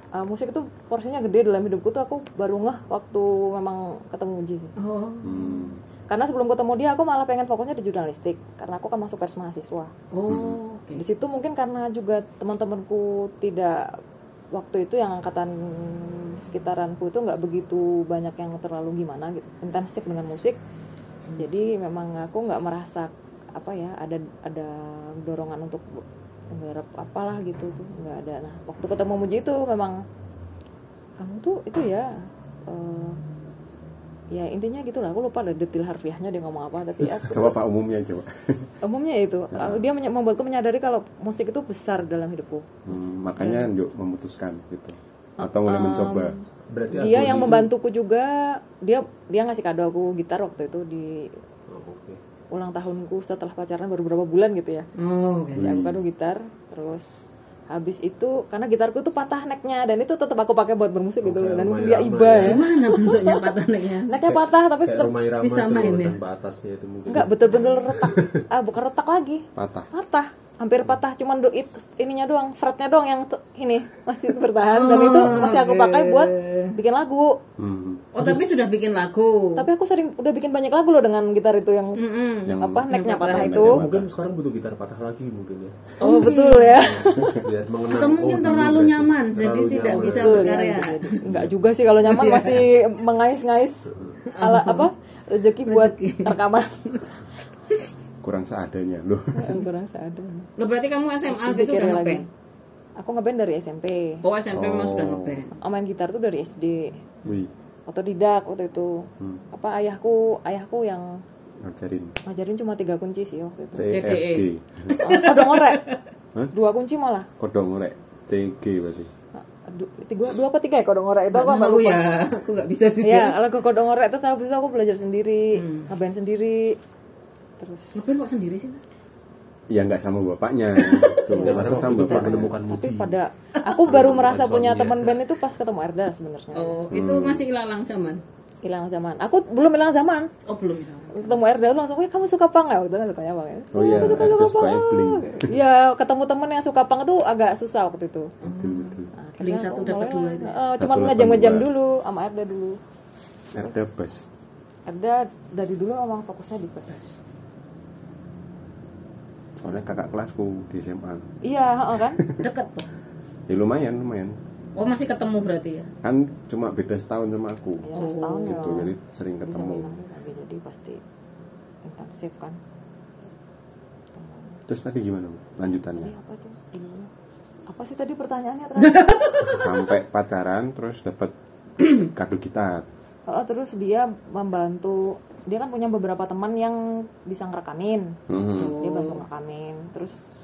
Speaker 4: Eh, musik itu porsinya gede dalam hidupku tuh aku baru ngeh waktu memang ketemu Muji sih.
Speaker 3: Oh,
Speaker 1: hmm.
Speaker 4: Karena sebelum ketemu dia aku malah pengen fokusnya di jurnalistik karena aku kan masuk pers mahasiswa.
Speaker 3: oh, oke.
Speaker 4: Di situ mungkin karena juga teman-temanku tidak waktu itu yang angkatan sekitaranku itu nggak begitu banyak yang terlalu gimana gitu intensif dengan musik. Jadi memang aku nggak merasa apa ya ada ada dorongan untuk menggarap apalah gitu tuh nggak ada. Nah waktu ketemu Muji itu memang kamu tuh itu ya eh, ya intinya gitulah aku lupa ada detail harfiahnya dia ngomong apa tapi aku
Speaker 1: coba pak umumnya coba
Speaker 4: umumnya itu
Speaker 2: Ya.
Speaker 4: uh, dia menye- membuatku menyadari kalau musik itu besar dalam hidupku
Speaker 1: Hmm, makanya yuk memutuskan gitu atau mulai mencoba
Speaker 2: berarti Agoni
Speaker 4: dia yang
Speaker 2: itu-
Speaker 4: membantuku juga dia dia ngasih kado aku gitar waktu itu di
Speaker 2: Oh, oke.
Speaker 4: ulang tahunku setelah pacaran baru beberapa bulan gitu ya
Speaker 3: Oh, oke.
Speaker 4: ngasih aku
Speaker 2: Hmm.
Speaker 4: kado gitar terus habis itu karena gitarku tuh patah necknya dan itu tetap aku pakai buat bermusik gitu
Speaker 2: Oke,
Speaker 4: dan
Speaker 2: lumayan
Speaker 4: dia
Speaker 2: lama
Speaker 4: iba
Speaker 2: ya.
Speaker 4: ya
Speaker 3: Gimana bentuknya pataneknya?
Speaker 4: necknya patah tapi
Speaker 2: Kayak
Speaker 4: tetap
Speaker 2: rumah irama
Speaker 3: bisa
Speaker 2: tuh
Speaker 3: main ya?
Speaker 2: tanpa atasnya itu mungkin.
Speaker 4: nggak betul-betul retak ah bukan retak lagi
Speaker 1: patah
Speaker 4: patah hampir patah cuman do it- ininya doang fretnya doang yang te- ini masih bertahan dan itu masih aku pakai buat bikin lagu
Speaker 1: Hmm.
Speaker 3: Oh tapi sudah bikin lagu.
Speaker 4: tapi aku sering udah bikin banyak lagu loh dengan gitar itu yang
Speaker 3: Mm-mm.
Speaker 1: Yang
Speaker 4: apa necknya
Speaker 3: patah.
Speaker 4: patah
Speaker 1: Necknya
Speaker 4: itu
Speaker 1: patah.
Speaker 2: Mungkin kan sekarang butuh gitar patah lagi mungkin ya.
Speaker 4: oh betul ya
Speaker 2: Biar mengenang.
Speaker 3: Atau mungkin
Speaker 2: oh, dulu
Speaker 3: terlalu
Speaker 2: berarti.
Speaker 3: nyaman, jadi
Speaker 2: Terlalu
Speaker 3: tidak
Speaker 2: nyaman.
Speaker 3: bisa
Speaker 4: Betul,
Speaker 3: berkarya.
Speaker 4: ya. Enggak juga sih kalau nyaman masih mengais-ngais ala apa rezeki buat rekaman
Speaker 1: Kurang seadanya loh.
Speaker 4: yang kurang seadanya.
Speaker 3: Lo berarti kamu SMA
Speaker 4: Terus
Speaker 3: gitu udah
Speaker 4: dipikirin lagi.
Speaker 3: ngeband?
Speaker 4: Aku ngeband dari SMP.
Speaker 3: Oh SMP memang sudah
Speaker 1: Oh.
Speaker 3: ngeband.
Speaker 4: Oh, main gitar tuh dari SD.
Speaker 1: Wih,
Speaker 4: Otodidak waktu itu.
Speaker 1: Hmm.
Speaker 4: Apa ayahku, ayahku yang
Speaker 1: ngajarin
Speaker 4: ngajarin cuma tiga kunci sih waktu itu.
Speaker 1: CFG.
Speaker 4: Oh, kodong ngorek.
Speaker 1: Hah?
Speaker 4: Dua kunci malah.
Speaker 1: Kodong ngorek CG berarti.
Speaker 4: Du- Tiga, dua apa tiga ya kodong ngorek itu
Speaker 3: Gak
Speaker 4: aku nggak
Speaker 3: tahu
Speaker 4: lupa.
Speaker 3: ya, aku nggak bisa
Speaker 4: Iya,
Speaker 3: juga.
Speaker 4: kalau ke kodong ngorek terus habis itu aku belajar sendiri,
Speaker 3: Hmm.
Speaker 4: ngeband sendiri. Terus
Speaker 3: Ngeband kok sendiri sih? Mas?
Speaker 1: Ya nggak sama bapaknya. Tuh,
Speaker 2: Iya,
Speaker 1: masa sama
Speaker 2: karena waktu itu
Speaker 1: bapaknya.
Speaker 2: menemukan muji.
Speaker 4: gitu. tapi pada aku baru
Speaker 2: Bukan
Speaker 4: merasa punya
Speaker 1: ya.
Speaker 2: suaminya.
Speaker 4: teman band itu pas ketemu Erda sebenarnya.
Speaker 3: Oh itu masih ilalang zaman.
Speaker 4: Hilang zaman. Aku belum hilang zaman.
Speaker 3: Oh belum ilalang.
Speaker 4: ketemu Erda aku langsung, "Wih, kamu suka punk ya?" Waktu itu kan sukanya punk ya.
Speaker 1: Oh iya, ada sukanya bling.
Speaker 4: Iya, ketemu temen yang suka punk itu agak susah waktu itu.
Speaker 1: Betul betul.
Speaker 4: Akhirnya
Speaker 3: Link Nah, satu
Speaker 4: aku
Speaker 3: dapat
Speaker 4: mulailah.
Speaker 3: dua itu.
Speaker 4: Eh, cuman
Speaker 1: Satu dapat
Speaker 4: ngejam-ngejam
Speaker 1: dua.
Speaker 4: dulu sama Erda dulu.
Speaker 1: Ada bass.
Speaker 4: Erda dari dulu emang fokusnya di bass.
Speaker 1: Soalnya kakak kelasku di SMA.
Speaker 4: Iya, heeh kan?
Speaker 3: Deket Pak.
Speaker 1: Ya lumayan lumayan.
Speaker 3: Oh masih ketemu berarti ya?
Speaker 1: Kan cuma beda setahun sama aku.
Speaker 4: Ya,
Speaker 3: Oh,
Speaker 4: setahun iya. ya.
Speaker 1: Gitu, jadi sering ketemu.
Speaker 4: Lagi jadi pasti intensif kan.
Speaker 1: Terus tadi gimana?
Speaker 4: Ini
Speaker 1: Lanjutannya.
Speaker 4: apa tuh? Ini. Apa sih tadi pertanyaannya terakhir?
Speaker 1: Sampai pacaran terus dapat kado gitar.
Speaker 4: Oh, terus dia membantu dia kan punya beberapa teman yang bisa ngerekamin
Speaker 1: Mhm.
Speaker 4: dia bantu ngerekamin terus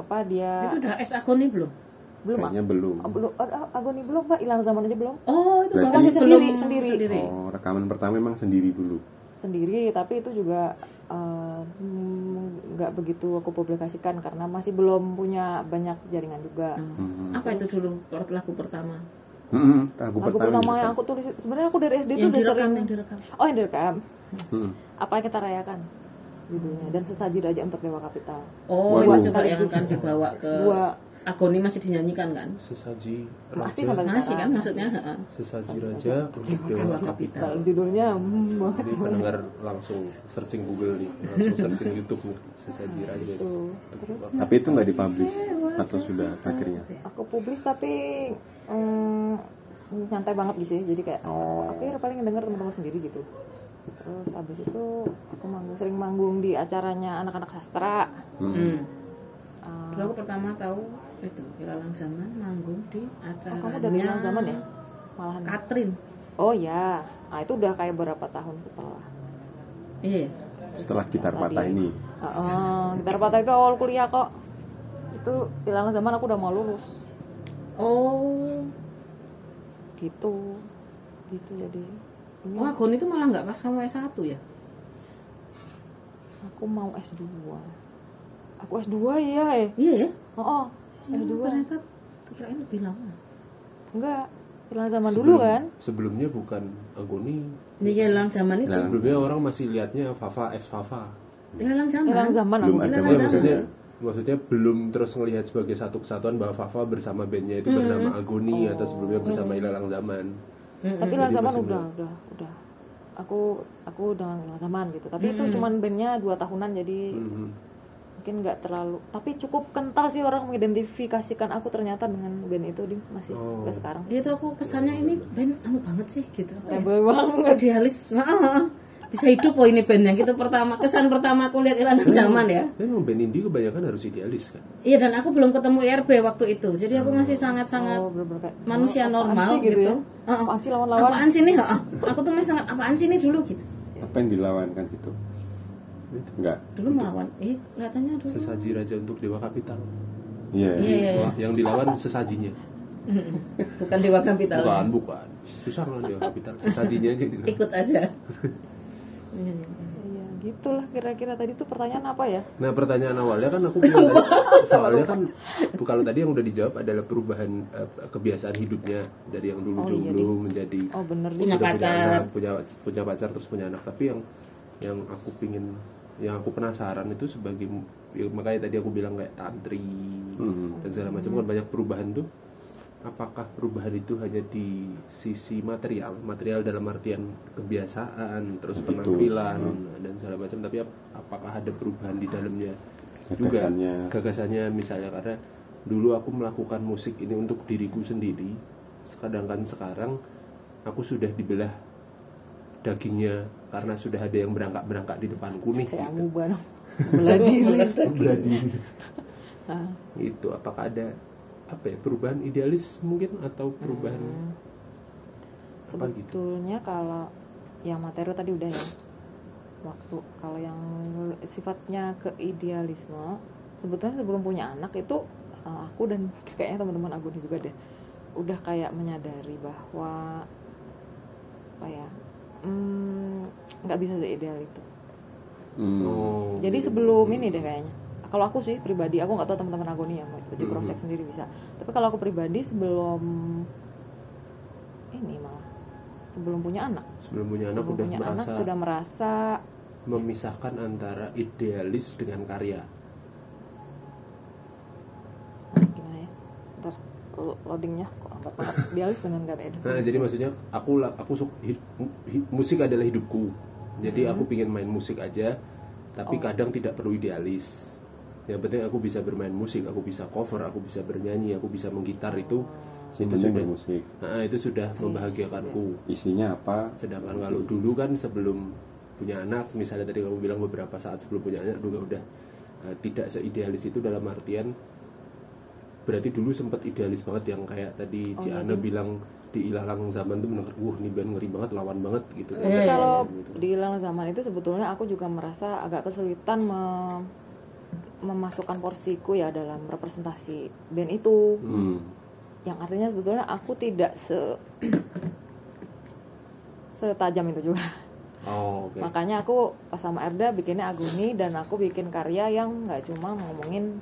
Speaker 4: apa dia
Speaker 3: Itu udah S Agoni belum?
Speaker 4: belum
Speaker 1: Kayaknya belum.
Speaker 4: ah, belum ah, ah, Agoni belum pak hilang zaman aja belum
Speaker 3: Oh itu
Speaker 1: Berarti-
Speaker 3: bahkan
Speaker 4: Masih
Speaker 3: sebelum
Speaker 4: sendiri, sendiri.
Speaker 1: Oh, rekaman pertama memang sendiri dulu.
Speaker 4: sendiri tapi itu juga eh, hmm, nggak begitu aku publikasikan karena masih belum punya banyak jaringan juga
Speaker 3: Hmm.
Speaker 1: Mhm.
Speaker 3: Apa itu dulu per- lagu pertama?
Speaker 1: Mhm, Lagu
Speaker 4: lagu
Speaker 1: pertama.
Speaker 4: pertama yang aku tulis sebenarnya aku dari SD itu
Speaker 3: Yang
Speaker 4: udah
Speaker 3: direkam,
Speaker 4: sering
Speaker 3: yang direkam.
Speaker 4: oh yang direkam
Speaker 1: Mhm.
Speaker 4: apa yang kita rayakan judulnya dan sesaji raja untuk dewa kapital
Speaker 3: Oh
Speaker 1: Waduh.
Speaker 3: itu juga yang akan dibawa ke
Speaker 4: dua
Speaker 3: Agoni masih dinyanyikan kan?
Speaker 2: Sesaji
Speaker 4: masih
Speaker 2: raja,
Speaker 4: sampai
Speaker 3: Masih kan
Speaker 4: sekarang.
Speaker 3: maksudnya? heeh.
Speaker 2: sesaji raja untuk dewa
Speaker 3: Ya.
Speaker 2: kapital.
Speaker 4: Kalau judulnya hmm, banget
Speaker 2: Ini pendengar langsung searching Google nih, langsung searching YouTube nih, sesaji raja.
Speaker 4: tuh.
Speaker 2: Untuk-
Speaker 1: Tapi itu nggak dipublish atau sudah akhirnya.
Speaker 4: aku publis tapi mm, nyantai banget gitu ya jadi kayak
Speaker 1: Oh.
Speaker 4: aku ya paling denger teman-teman sendiri gitu terus abis itu aku manggung sering manggung di acaranya anak-anak sastra
Speaker 1: Mhm.
Speaker 3: Hmm.
Speaker 4: Ah.
Speaker 3: Dulu aku pertama tahu itu Ilalang Zaman manggung di
Speaker 4: oh,
Speaker 3: acaranya
Speaker 4: kamu dari mana zaman ya malahan
Speaker 3: Katrin.
Speaker 4: oh ya nah itu udah kayak berapa tahun setelah
Speaker 3: Iya.
Speaker 1: Setelah gitar patah ini.
Speaker 4: Uh, uh, gitar patah itu awal kuliah kok itu hilang zaman aku udah mau lulus
Speaker 3: Oh,
Speaker 4: gitu gitu jadi ini
Speaker 3: oh Agon itu malah nggak pas kamu S1 ya?
Speaker 4: aku mau S2 aku S2 iya eh
Speaker 3: Iya ya?
Speaker 4: oh, oh S2
Speaker 3: Ternyata kirain lebih lama.
Speaker 4: Enggak, hilang zaman dulu
Speaker 2: Sebelum-
Speaker 4: kan?
Speaker 2: Sebelumnya bukan Agoni,
Speaker 3: Ini
Speaker 1: Iya.
Speaker 3: Ilalang Zaman itu.
Speaker 1: Ilalang.
Speaker 2: sebelumnya orang masih lihatnya Fafa S Fafa.
Speaker 3: Ilalang Zaman.
Speaker 4: Hilang zaman
Speaker 1: Belum ada
Speaker 4: aku.
Speaker 3: Ilalang
Speaker 2: Ya,
Speaker 3: Zaman.
Speaker 2: maksudnya maksudnya belum terus ngelihat sebagai satu kesatuan bahwa Fafa bersama bandnya itu bernama Agoni atau sebelumnya bersama Ilalang Zaman.
Speaker 4: Tapi hilang
Speaker 2: Jadi
Speaker 4: zaman
Speaker 2: masih
Speaker 4: udah, udah, udah. Aku aku dengan hilang zaman gitu. Tapi itu cuman bandnya dua tahunan jadi
Speaker 2: Mhm.
Speaker 4: mungkin nggak terlalu. Tapi cukup kental sih orang mengidentifikasikan aku ternyata dengan band itu di masih
Speaker 2: Oh.
Speaker 4: sampai sekarang.
Speaker 3: Iya tuh aku kesannya ini band anu banget sih gitu. Apa ya?
Speaker 4: Boleh banget.
Speaker 3: Idealis. Heeh, heeh. Bisa hidup oh ini bandnya gitu pertama kesan pertama aku lihat
Speaker 1: Iya.
Speaker 3: Ilalang Zaman ya.
Speaker 2: Tapi Memang band indie kebanyakan harus idealis kan.
Speaker 3: Iya dan aku belum ketemu IRB waktu itu. Jadi aku masih sangat-sangat
Speaker 4: Oh, bener-bener kayak,
Speaker 3: manusia
Speaker 4: apaan
Speaker 3: normal
Speaker 4: sih gitu
Speaker 3: gitu.
Speaker 4: ya?
Speaker 3: Heeh.
Speaker 4: Apaan sih lawan-lawan?
Speaker 3: Apaan sih ini? Heeh. Aku tuh masih sangat apaan sih ini dulu gitu.
Speaker 1: Iya. Apa yang dilawankan gitu? Enggak.
Speaker 3: Dulu melawan, eh kelihatannya dulu.
Speaker 2: Sesaji raja untuk dewa kapital.
Speaker 1: Iya.
Speaker 3: Iya, iya, iya.
Speaker 2: Yang dilawan sesajinya.
Speaker 3: bukan Dewa Kapital.
Speaker 2: Bukan, bukan. Susah kan dewa kapital. Sesajinya aja gitu. dilawan.
Speaker 3: Ikut aja.
Speaker 4: Iya, gitulah kira-kira tadi tuh pertanyaan apa ya?
Speaker 2: Nah pertanyaan awalnya kan aku bilang tadi, soalnya kan bu, kalau tadi yang udah dijawab adalah perubahan eh, kebiasaan hidupnya dari yang dulu jomblo menjadi
Speaker 4: Oh, bener nih.
Speaker 3: Punya
Speaker 2: sudah punya
Speaker 3: pacar.
Speaker 2: anak, punya punya pacar terus punya anak tapi yang yang aku pingin yang aku penasaran itu sebagai ya, makanya tadi aku bilang kayak tantri
Speaker 3: Hmm.
Speaker 2: dan segala macam kan banyak perubahan tuh apakah perubahan itu hanya di sisi material material dalam artian kebiasaan terus penampilan
Speaker 3: Hmm.
Speaker 2: dan segala macam tapi ap- apakah ada perubahan di dalamnya juga
Speaker 1: Gagasannya.
Speaker 2: gagasannya misalnya karena dulu aku melakukan musik ini untuk diriku sendiri sedangkan sekarang aku sudah dibelah dagingnya karena sudah ada yang berangkat-berangkat di depanku nih
Speaker 4: kayak
Speaker 2: gitu.
Speaker 4: amuba dong Beladi.
Speaker 2: Belah diri.
Speaker 4: Ah.
Speaker 2: itu apakah ada apa ya perubahan idealis mungkin atau perubahan apa gitu
Speaker 4: sebetulnya kalau yang materi tadi udah ya waktu kalau yang sifatnya keidealisme sebetulnya sebelum punya anak itu eh, aku dan kayaknya teman-teman aku juga deh udah kayak menyadari bahwa apa ya mm, nggak bisa seideal itu
Speaker 1: Hmm.
Speaker 2: oh
Speaker 4: jadi sebelum ini deh kayaknya kalau aku sih pribadi aku nggak tahu teman-teman aku nih ya mau di
Speaker 2: Mm-hmm.
Speaker 4: cross check sendiri bisa tapi kalau aku pribadi sebelum ini malah sebelum punya anak
Speaker 2: sebelum punya anak
Speaker 4: sebelum
Speaker 2: udah
Speaker 4: punya anak
Speaker 2: merasa
Speaker 4: sudah merasa
Speaker 2: memisahkan antara idealis dengan karya
Speaker 4: ah, gimana ya ntar lo- loadingnya kok lambat banget dialis dengan gak ada
Speaker 2: Nah, jadi maksudnya aku la- aku suka hid- mu- hi- musik adalah hidupku. Jadi aku pingin main musik aja, tapi kadang tidak perlu idealis. Yang penting aku bisa bermain musik, aku bisa cover, aku bisa bernyanyi, aku bisa menggitar itu itu
Speaker 1: Sebenarnya
Speaker 2: sudah
Speaker 1: musik.
Speaker 2: nah, itu sudah membahagiakanku.
Speaker 1: Isinya apa?
Speaker 2: Sedangkan kalau dulu kan sebelum punya anak, misalnya tadi kamu bilang beberapa saat sebelum punya anak juga udah eh, tidak seidealis itu dalam artian berarti dulu sempat idealis banget yang kayak tadi
Speaker 4: Oh,
Speaker 2: Ci
Speaker 4: iya,
Speaker 2: Ana bilang di ilalang zaman tuh mendengar wah nih band ngeri banget lawan banget gitu kan.
Speaker 4: tapi
Speaker 3: Eh.
Speaker 4: kalau Iya, di dalam zaman itu sebetulnya aku juga merasa agak kesulitan mem- memasukkan porsiku ya dalam representasi band itu
Speaker 1: Hmm.
Speaker 4: yang artinya sebetulnya aku tidak se setajam itu juga
Speaker 2: oh oke
Speaker 4: makanya aku pas sama Erda bikinnya Aguni dan aku bikin karya yang nggak cuma ngomongin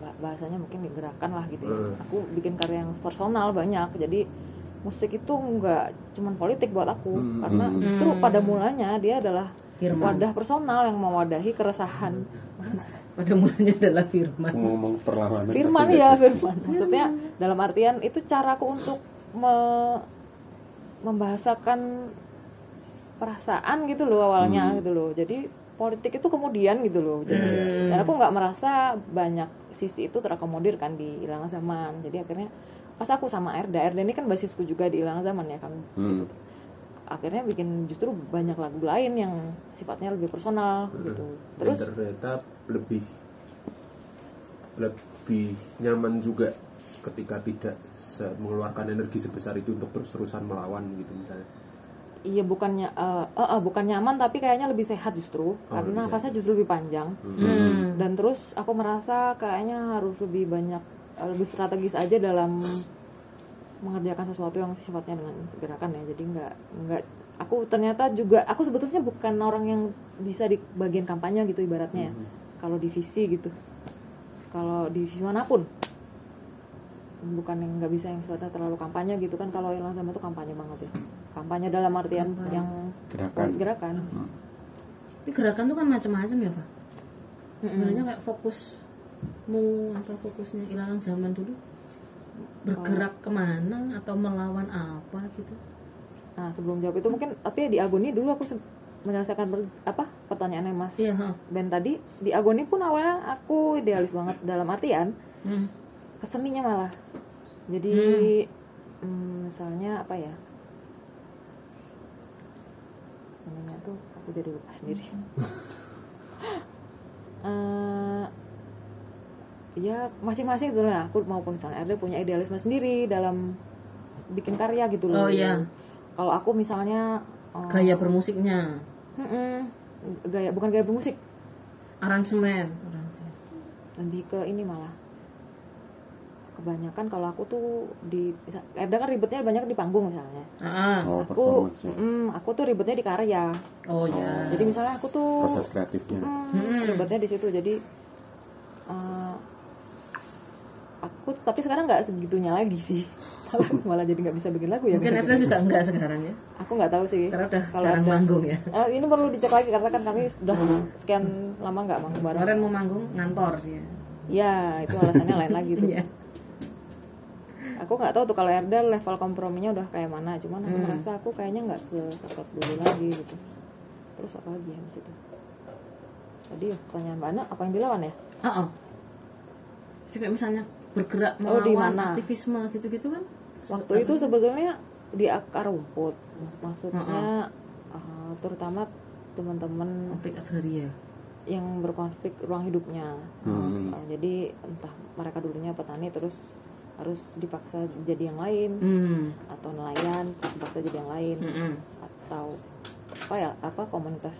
Speaker 4: bah- bahasanya mungkin digerakkan lah gitu ya.
Speaker 2: Hmm.
Speaker 4: aku bikin karya yang personal banyak jadi musik itu nggak cuman politik buat aku
Speaker 2: Hmm.
Speaker 4: karena
Speaker 1: Hmm.
Speaker 4: justru pada mulanya dia adalah
Speaker 3: Firman.
Speaker 4: wadah personal yang mewadahi keresahan
Speaker 3: Pada mulanya adalah firman.
Speaker 1: Aku ngomong perlawanan. tapi
Speaker 4: Firman
Speaker 1: nggak
Speaker 4: ya
Speaker 1: jadi.
Speaker 4: Firman. Maksudnya dalam artian itu caraku untuk me- membahasakan perasaan gitu loh awalnya gitu loh. Jadi politik itu kemudian gitu loh. Jadi dan aku nggak merasa banyak sisi itu terakomodir kan di hilang zaman. Jadi akhirnya pas aku sama Erda, Erda ini kan basisku juga di hilang zaman ya kan.
Speaker 1: Hmm.
Speaker 4: Gitu. Akhirnya bikin justru banyak lagu lain yang sifatnya lebih personal gitu.
Speaker 2: Dan
Speaker 4: Terus
Speaker 2: ternyata lebih lebih nyaman juga ketika tidak se- mengeluarkan energi sebesar itu untuk terus-terusan melawan gitu misalnya
Speaker 4: Iya bukannya eh eh, eh, bukan nyaman tapi kayaknya lebih sehat
Speaker 2: Oh,
Speaker 4: justru
Speaker 2: lebih
Speaker 4: karena
Speaker 2: sehat.
Speaker 4: nafasnya justru lebih panjang
Speaker 3: Hmm.
Speaker 4: dan terus aku merasa kayaknya harus lebih banyak eh, lebih strategis aja dalam mengerjakan sesuatu yang sifatnya dengan gerakan ya jadi nggak nggak aku ternyata juga aku sebetulnya bukan orang yang bisa di bagian kampanye gitu ibaratnya ya kalau divisi gitu kalau divisi manapun bukan yang nggak bisa yang sifatnya terlalu kampanye gitu kan kalau hilang sama itu kampanye banget ya kampanye dalam artian yang
Speaker 1: Gerakan.
Speaker 4: gerakan
Speaker 3: Tapi gerakan tuh kan macam-macam ya, Pak. Sebenarnya kayak fokusmu atau fokusnya ilalang zaman dulu bergerak kemana atau melawan apa gitu.
Speaker 4: nah sebelum jawab itu mungkin tapi ya di Agoni dulu aku se- menyelesaikan per- apa pertanyaannya Mas
Speaker 3: Iya, heeh.
Speaker 4: Ben tadi di Agoni pun awalnya aku idealis banget dalam artian
Speaker 3: Hmm.
Speaker 4: keseninya malah jadi
Speaker 3: Hmm.
Speaker 4: mm, misalnya apa ya seninya tuh aku jadi lupa sendiri
Speaker 3: Hmm.
Speaker 4: Eh, ya masing-masing tuh lah aku maupun misalnya Erda punya idealisme sendiri dalam bikin karya gitu
Speaker 3: Oh,
Speaker 4: loh
Speaker 3: iya.
Speaker 4: kalau aku misalnya eh,
Speaker 3: Gaya bermusiknya,
Speaker 4: mm-mm, gaya bukan gaya bermusik
Speaker 3: aransemen, aransemen.
Speaker 4: lebih ke ini malah kebanyakan kalau aku tuh di ada kan ribetnya banyak di panggung misalnya
Speaker 3: Ah, ah.
Speaker 1: Oh,
Speaker 4: aku
Speaker 1: performance.
Speaker 4: mm, aku tuh ribetnya di karya
Speaker 3: Oh ya.
Speaker 4: jadi misalnya aku tuh
Speaker 1: Proses
Speaker 3: Hmm.
Speaker 1: kreatifnya.
Speaker 4: mm, ribetnya di situ jadi eh, aku aku tapi sekarang nggak segitunya lagi sih malah malah jadi nggak bisa bikin lagu ya
Speaker 3: Mungkin Atlas juga enggak sekarang ya.
Speaker 4: aku nggak tahu sih
Speaker 3: Karena udah
Speaker 4: Kalau
Speaker 3: jarang Hmm.
Speaker 4: ada-
Speaker 3: manggung ya.
Speaker 4: Eh, ini perlu dicek lagi karena kan kami sudah sekian lama nggak manggung bareng
Speaker 3: Kemarin mau manggung ngantor dia.
Speaker 4: ya itu alasannya lain lagi tuh
Speaker 3: Iya.
Speaker 4: aku nggak tahu tuh kalau Erda level komprominya udah kayak mana cuman aku merasa aku kayaknya nggak seketat dulu lagi gitu terus apa lagi ya di situ tadi ya, pertanyaan mana apa yang dilawan ya
Speaker 3: Oh, oh. Jadi kayak misalnya bergerak
Speaker 4: Oh,
Speaker 3: melawan
Speaker 4: di mana?
Speaker 3: aktivisme gitu-gitu kan.
Speaker 4: waktu itu sebetulnya di akar rumput maksudnya eh, terutama teman-teman
Speaker 3: konflik
Speaker 4: ya?
Speaker 3: agraria.
Speaker 4: yang berkonflik ruang hidupnya
Speaker 1: Hmm.
Speaker 4: Eh, jadi entah mereka dulunya petani terus harus dipaksa jadi yang lain
Speaker 3: Hmm.
Speaker 4: atau nelayan terus dipaksa jadi yang lain
Speaker 3: Mm-mm.
Speaker 4: atau apa ya apa komunitas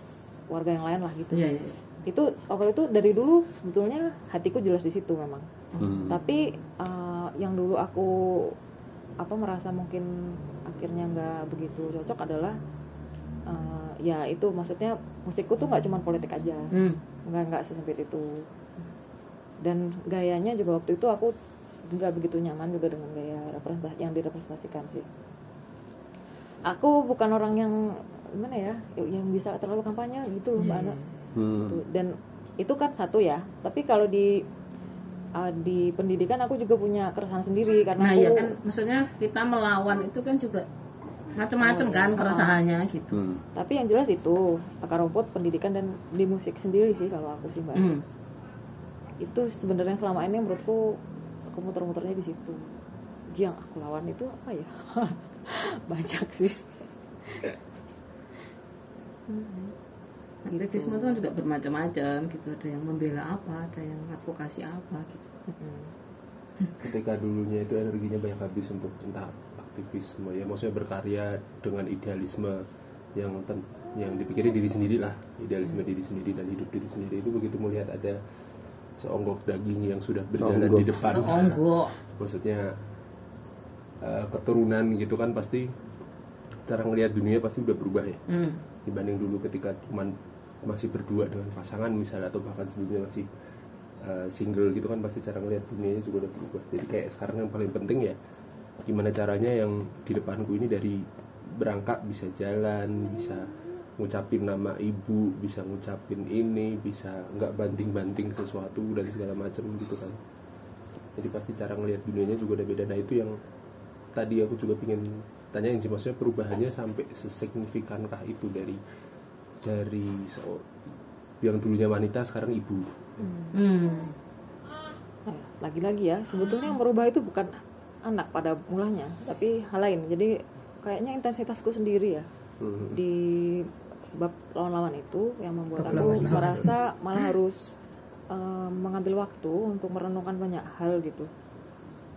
Speaker 4: warga yang lain lah gitu
Speaker 3: Iya, iya. iya.
Speaker 4: itu awal itu dari dulu sebetulnya hatiku jelas di situ memang
Speaker 1: Hmm.
Speaker 4: tapi eh, yang dulu aku apa merasa mungkin akhirnya nggak begitu cocok adalah eh, ya itu maksudnya musikku tuh nggak cuma politik aja
Speaker 3: Hmm.
Speaker 4: nggak nggak sesempit itu dan gayanya juga waktu itu aku nggak begitu nyaman juga dengan gaya representasi yang direpresentasikan sih aku bukan orang yang gimana ya yang bisa terlalu kampanye gitu loh mbak Ana.
Speaker 1: Hmm.
Speaker 4: Gitu. dan itu kan satu ya tapi kalau di uh, di pendidikan aku juga punya keresahan sendiri karena
Speaker 3: Nah,
Speaker 4: aku
Speaker 3: ya kan maksudnya kita melawan itu kan juga macam-macam kan keresahannya gitu.
Speaker 1: Hmm.
Speaker 4: tapi yang jelas itu akar rumput pendidikan dan di musik sendiri sih kalau aku sih mbak
Speaker 3: Hmm.
Speaker 4: itu sebenarnya selama ini menurutku aku muter-muternya di situ yang aku lawan itu apa ya banyak sih
Speaker 3: Aktivisme itu kan juga bermacam-macam gitu. Ada yang membela apa, ada yang advokasi apa gitu.
Speaker 4: Mm-mm.
Speaker 2: ketika dulunya itu energinya banyak habis untuk entah aktivisme ya maksudnya berkarya dengan idealisme yang ten- yang dipikirin diri sendiri lah idealisme diri sendiri dan hidup diri sendiri itu begitu melihat ada seonggok daging yang sudah berjalan di
Speaker 1: Seonggok.
Speaker 2: depan
Speaker 3: Seonggok.
Speaker 2: maksudnya eh, keturunan gitu kan pasti cara ngelihat dunia pasti udah berubah ya
Speaker 3: Hmm.
Speaker 2: dibanding dulu ketika cuman masih berdua dengan pasangan misalnya atau bahkan sebelumnya masih uh, single gitu kan pasti cara ngelihat dunianya juga udah berubah jadi kayak sekarang yang paling penting ya gimana caranya yang di depanku ini dari berangkat bisa jalan bisa ngucapin nama ibu bisa ngucapin ini bisa nggak banting-banting sesuatu dan segala macam gitu kan jadi pasti cara ngelihat dunianya juga udah beda nah itu yang tadi aku juga pingin tanyain sih maksudnya perubahannya sampai sesignifikankah itu dari dari seo- yang dulunya wanita sekarang ibu
Speaker 3: Hmm.
Speaker 4: Nah, lagi-lagi ya sebetulnya yang berubah itu bukan anak pada mulanya tapi hal lain jadi kayaknya intensitasku sendiri ya
Speaker 2: Hmm.
Speaker 4: di bab lawan-lawan itu yang membuat
Speaker 3: Bab
Speaker 4: aku
Speaker 3: lawan-lawan.
Speaker 4: merasa malah harus eh, mengambil waktu untuk merenungkan banyak hal gitu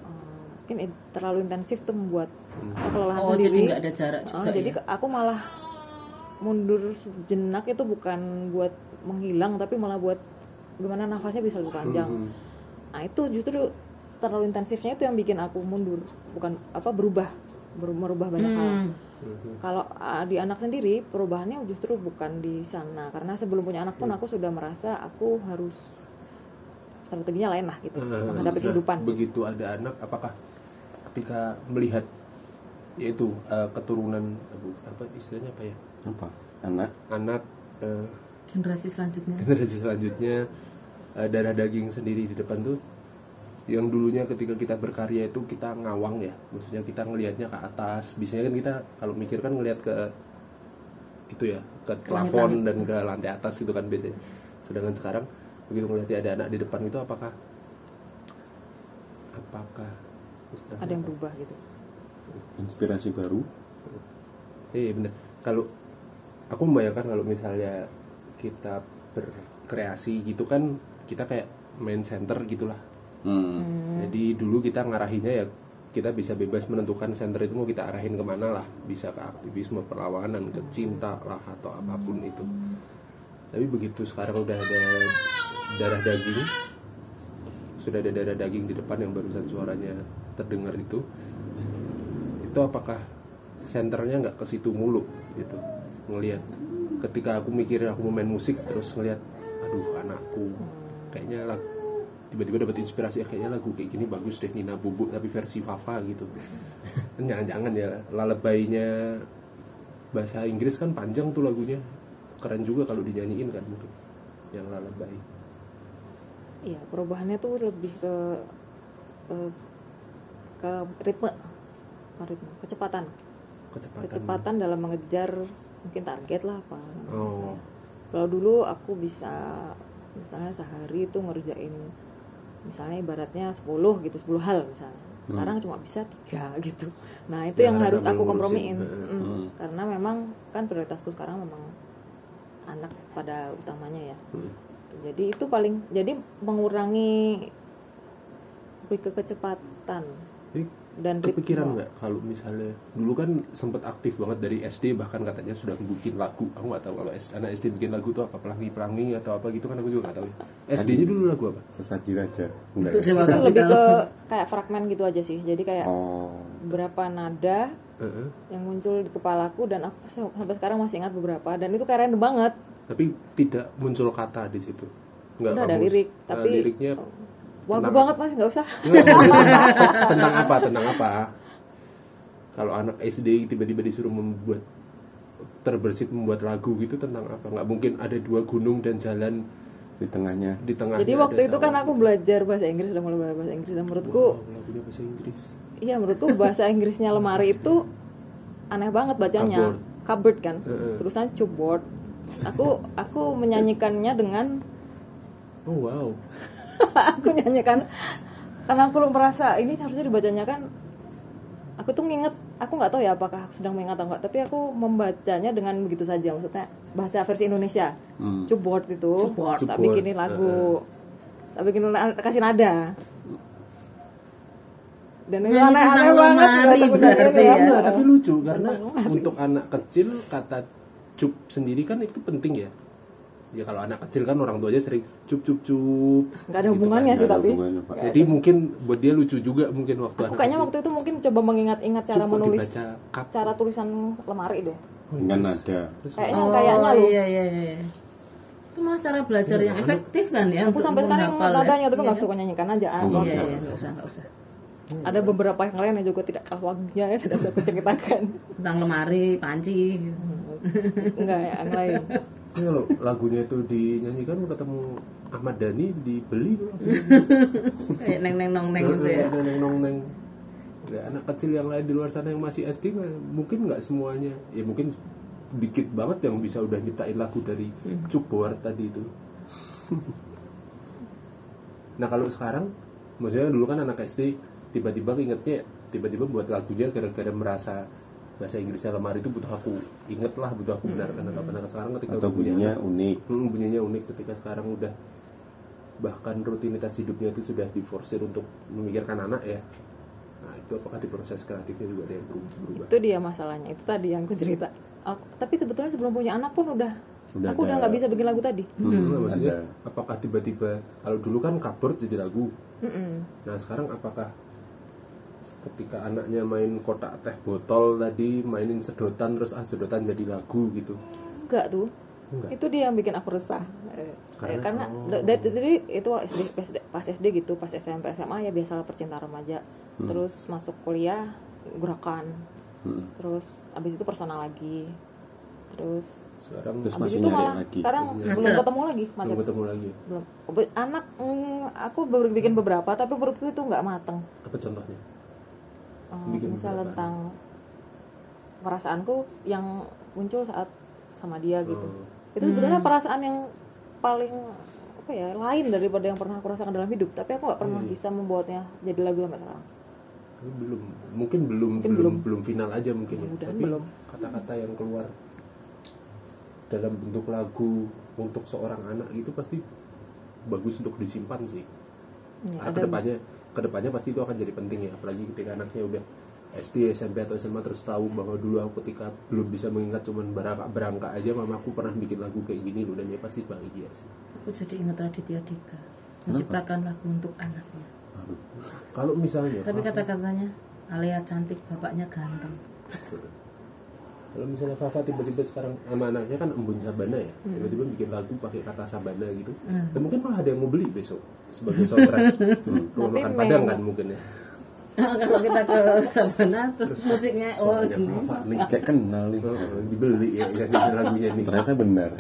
Speaker 4: Eh, mungkin in- terlalu intensif tuh membuat kelelahan
Speaker 3: Oh,
Speaker 4: sendiri
Speaker 3: jadi nggak ada jarak
Speaker 4: Oh,
Speaker 3: juga
Speaker 4: jadi
Speaker 3: ya?
Speaker 2: Iya.
Speaker 4: ke- aku malah mundur sejenak itu bukan buat menghilang tapi malah buat gimana nafasnya bisa lebih panjang
Speaker 2: Hmm.
Speaker 4: Nah itu justru terlalu intensifnya itu yang bikin aku mundur, bukan apa berubah, Beru- merubah banyak hal.
Speaker 3: Hmm.
Speaker 2: Hmm.
Speaker 4: Kalau ah, di anak sendiri perubahannya justru bukan di sana, karena sebelum punya anak
Speaker 2: Hmm.
Speaker 4: pun aku sudah merasa aku harus strateginya lain lah gitu
Speaker 2: Eh,
Speaker 4: menghadapi
Speaker 2: nah,
Speaker 4: kehidupan.
Speaker 2: begitu ada anak apakah ketika melihat yaitu eh, keturunan aduh, apa istilahnya apa ya
Speaker 1: Apa? Anak.
Speaker 2: anak eh,
Speaker 3: Generasi selanjutnya.
Speaker 2: generasi selanjutnya eh, darah daging sendiri di depan tuh yang dulunya ketika kita berkarya itu kita ngawang ya maksudnya kita ngelihatnya ke atas biasanya kan kita kalau mikir kan ngelihat ke itu ya ke plafon dan ke lantai atas gitu kan biasanya sedangkan sekarang begitu ngelihatnya ada anak di depan itu apakah apakah istilahnya
Speaker 4: Ada yang berubah gitu.
Speaker 1: Inspirasi baru.
Speaker 2: Iya bener. Kalau aku membayangkan kalau misalnya kita berkreasi gitu kan kita kayak main center gitulah.
Speaker 1: Hmm.
Speaker 2: Jadi dulu kita ngarahinnya ya kita bisa bebas menentukan center itu mau kita arahin kemana lah. Bisa ke aktivisme perlawanan, ke cinta lah atau apapun itu. Tapi begitu sekarang udah ada darah daging, sudah ada darah daging di depan yang barusan suaranya terdengar itu, itu apakah senternya nggak ke situ mulu gitu ngelihat ketika aku mikir aku mau main musik terus ngelihat aduh anakku kayaknya lag- tiba-tiba dapat inspirasi "Ah, kayaknya lagu kayak gini bagus deh Nina Bubuk tapi versi Fafa gitu jangan-jangan ya lalebainya bahasa Inggris kan panjang tuh lagunya keren juga kalau dinyanyiin kan mungkin yang lalabai
Speaker 4: Iya, perubahannya tuh lebih ke eh, ke ritme, Bukan ritme, kecepatan,
Speaker 2: kecepatan
Speaker 4: kecepatan dalam mengejar mungkin target lah apa.
Speaker 2: oh
Speaker 4: Kalau dulu aku bisa misalnya sehari itu ngerjain misalnya ibaratnya 10 gitu, 10 hal misalnya. Sekarang cuma bisa tiga gitu. Nah,
Speaker 2: Hmm.
Speaker 4: itu
Speaker 2: Ya,
Speaker 4: yang
Speaker 2: karena
Speaker 4: harus
Speaker 2: sambil
Speaker 4: aku
Speaker 2: ngurusin.
Speaker 4: kompromiin.
Speaker 2: Heeh.
Speaker 4: Mm,
Speaker 1: Hmm.
Speaker 4: Karena memang kan prioritasku sekarang memang anak pada utamanya ya.
Speaker 2: Hmm.
Speaker 4: Jadi itu paling jadi mengurangi lebih ke kecepatan
Speaker 2: Jadi,
Speaker 4: dan
Speaker 2: kepikiran
Speaker 4: ritme.
Speaker 2: nggak kalau misalnya dulu kan sempet aktif banget dari SD bahkan katanya sudah bikin lagu aku nggak tahu kalau SD, anak SD bikin lagu tuh apa pelangi pelangi atau apa gitu kan aku juga nggak tahu SD-nya dulu lagu apa
Speaker 1: sesaji raja enggak
Speaker 3: Itu
Speaker 1: ya?
Speaker 3: Dewa
Speaker 4: Itu
Speaker 3: Kapital.
Speaker 4: lebih ke kayak fragmen gitu aja sih. Jadi kayak
Speaker 1: oh
Speaker 4: berapa nada
Speaker 2: Heeh.
Speaker 4: yang muncul di kepalaku dan aku se- sampai sekarang masih ingat beberapa dan itu keren banget.
Speaker 2: tapi tidak muncul kata di situ nggak
Speaker 4: Udah ada
Speaker 2: kamu-
Speaker 4: lirik,
Speaker 2: eh,
Speaker 4: tapi- oh,
Speaker 2: liriknya
Speaker 4: Wagu
Speaker 2: Tenang.
Speaker 4: banget Mas, nggak usah.
Speaker 2: tentang apa tentang apa kalau anak SD tiba-tiba disuruh membuat terbersit membuat lagu gitu tentang apa nggak mungkin ada dua gunung dan jalan
Speaker 1: di tengahnya
Speaker 2: di tengah
Speaker 4: Jadi waktu itu kan aku belajar bahasa Inggris, udah mulai belajar bahasa Inggris dan menurutku
Speaker 2: lagunya bahasa Inggris
Speaker 4: Iya menurutku bahasa Inggrisnya lemari itu aneh banget bacanya. Cupboard, kan.
Speaker 2: Heeh.
Speaker 4: Terusan cupboard. Aku aku menyanyikannya dengan
Speaker 2: oh wow
Speaker 4: aku nyanyikan karena aku merasa ini harusnya dibacanya kan aku tuh nginget aku nggak tahu ya apakah aku sedang mengingat atau enggak tapi aku membacanya dengan begitu saja maksudnya bahasa versi Indonesia
Speaker 1: Hmm.
Speaker 4: cupboard itu
Speaker 3: Cupboard.
Speaker 4: tak
Speaker 2: Cupboard,
Speaker 4: bikinin lagu tak bikinin la- kasih nada dan itu
Speaker 3: Nyanyi
Speaker 4: aneh-aneh
Speaker 3: tentang
Speaker 4: banget
Speaker 3: lemari
Speaker 4: bahasa budaya
Speaker 3: berarti
Speaker 4: itu
Speaker 3: ya.
Speaker 2: Nah, tapi lucu karena untuk anak kecil kata cup sendiri kan itu penting ya ya kalau anak kecil kan orang tuanya sering cup cup cup
Speaker 4: nggak ada hubungannya
Speaker 1: Nggak
Speaker 4: sih
Speaker 1: ada
Speaker 4: tapi
Speaker 1: hubungannya, Pak.
Speaker 2: jadi mungkin buat dia lucu juga mungkin waktu
Speaker 4: aku kayaknya waktu itu mungkin coba mengingat-ingat cara
Speaker 2: Cukup
Speaker 4: menulis
Speaker 2: dibaca kap.
Speaker 4: cara tulisan lemari deh
Speaker 1: dengan nada
Speaker 2: Terus
Speaker 4: kayaknya kayaknya
Speaker 3: Oh,
Speaker 4: lu
Speaker 3: iya iya iya itu malah cara belajar yang efektif kan ya
Speaker 4: aku
Speaker 3: untuk
Speaker 4: sampai sekarang
Speaker 3: menghafal
Speaker 4: ingat
Speaker 3: ya.
Speaker 4: nadanya tapi nggak
Speaker 3: Iya.
Speaker 4: suka nyanyikan aja ah.
Speaker 1: Oh,
Speaker 3: iya
Speaker 1: Nggak
Speaker 3: iya
Speaker 1: usah.
Speaker 3: nggak usah nggak usah
Speaker 4: ada beberapa yang lain yang juga tidak kalah wagunya ya tidak usah aku ceritakan
Speaker 3: tentang lemari panci gitu.
Speaker 4: enggak ya yang lain
Speaker 2: Ini kalau lagunya itu dinyanyikan ketemu Ahmad Dhani dibeli tuh lagunya.
Speaker 3: kayak neng neng nong neng gitu
Speaker 2: Neng,
Speaker 3: ya
Speaker 2: neng, neng, neng. Ya, anak kecil yang lain di luar sana yang masih SD mah, mungkin nggak semuanya ya mungkin dikit banget yang bisa udah nyiptain lagu dari
Speaker 3: Hmm.
Speaker 2: cupboard tadi itu nah kalau sekarang maksudnya dulu kan anak SD tiba-tiba ingetnya tiba-tiba buat lagunya gara-gara merasa bahasa Inggrisnya lemari itu butuh aku inget lah butuh aku benarkan
Speaker 3: Hmm.
Speaker 2: atau benar sekarang ketika
Speaker 1: atau
Speaker 2: punya
Speaker 1: bunyinya unik
Speaker 2: Hmm, bunyinya unik ketika sekarang udah bahkan rutinitas hidupnya itu sudah diforsir untuk memikirkan anak ya. Nah, itu apakah di proses kreatifnya juga ada yang beru- berubah?
Speaker 4: itu dia masalahnya itu tadi yang aku cerita Aku- tapi sebetulnya sebelum punya anak pun udah,
Speaker 1: Udah
Speaker 4: aku udah
Speaker 1: ada.
Speaker 4: nggak bisa bikin lagu tadi
Speaker 2: Hmm, maksudnya
Speaker 1: ada.
Speaker 2: apakah tiba-tiba kalau dulu kan cover jadi lagu.
Speaker 4: Mm-mm.
Speaker 2: Nah, sekarang apakah ketika anaknya main kotak teh botol tadi mainin sedotan terus ah sedotan jadi lagu gitu.
Speaker 4: enggak tuh
Speaker 2: Enggak.
Speaker 4: itu dia yang bikin aku resah Eh, eh, karena, da- da- dari itu SD, pas SD pas SD gitu pas SMP SMA ya biasalah percintaan remaja terus masuk kuliah gerakan
Speaker 1: Hmm.
Speaker 4: terus abis itu personal lagi terus
Speaker 2: Sekarang
Speaker 1: Terus
Speaker 4: abis
Speaker 1: masih
Speaker 4: itu
Speaker 1: nyari
Speaker 4: malah
Speaker 1: lagi.
Speaker 4: sekarang
Speaker 2: Masih
Speaker 3: nyari.
Speaker 4: belum ketemu lagi macam
Speaker 2: belum ketemu lagi. ya?
Speaker 4: belum Be- anak mm, aku baru bikin beberapa tapi menurutku itu nggak mateng
Speaker 2: Apa contohnya?
Speaker 4: Eh,
Speaker 2: Bikin
Speaker 4: misal
Speaker 2: beberapa.
Speaker 4: tentang perasaanku yang muncul saat sama dia gitu
Speaker 2: Oh.
Speaker 4: itu sebetulnya perasaan yang paling apa ya lain daripada yang pernah aku rasakan dalam hidup tapi aku nggak
Speaker 2: Iya.
Speaker 4: pernah bisa membuatnya jadi lagu sampai sekarang
Speaker 2: Ini belum mungkin belum
Speaker 4: Mungkin
Speaker 2: belum
Speaker 4: belum.
Speaker 2: belum final aja mungkin ya
Speaker 4: Mudah-mudahan
Speaker 2: tapi
Speaker 4: belum.
Speaker 2: kata-kata yang keluar dalam bentuk lagu untuk seorang anak itu pasti bagus untuk disimpan sih
Speaker 4: Ya,
Speaker 2: karena
Speaker 4: ada-
Speaker 2: kedepannya kedepannya pasti itu akan jadi penting ya apalagi ketika anaknya udah SD SMP atau SMA terus tahu bahwa dulu aku ketika belum bisa mengingat cuman berangka berangka aja mamaku pernah bikin lagu kayak gini loh dan dia pasti bahagia sih
Speaker 3: aku jadi ingat Raditya Dika menciptakan lagu untuk anaknya
Speaker 2: kalau misalnya
Speaker 3: tapi kata-katanya Alea cantik bapaknya ganteng
Speaker 2: kalau misalnya Fafa tiba-tiba sekarang sama anaknya kan embun sabana ya tiba-tiba bikin lagu pakai kata sabana gitu
Speaker 3: Hmm.
Speaker 2: dan mungkin malah ada yang mau beli besok sebagai soundtrack rumah
Speaker 4: Tapi
Speaker 2: makan padang
Speaker 4: memang-
Speaker 2: kan mungkin ya
Speaker 3: kalau kita ke sana terus musiknya oh
Speaker 2: Soalnya
Speaker 3: gini
Speaker 2: Fafa nih
Speaker 1: kayak kenal nih
Speaker 2: Oh, dibeli ya yang ini lagunya nih
Speaker 1: ternyata benar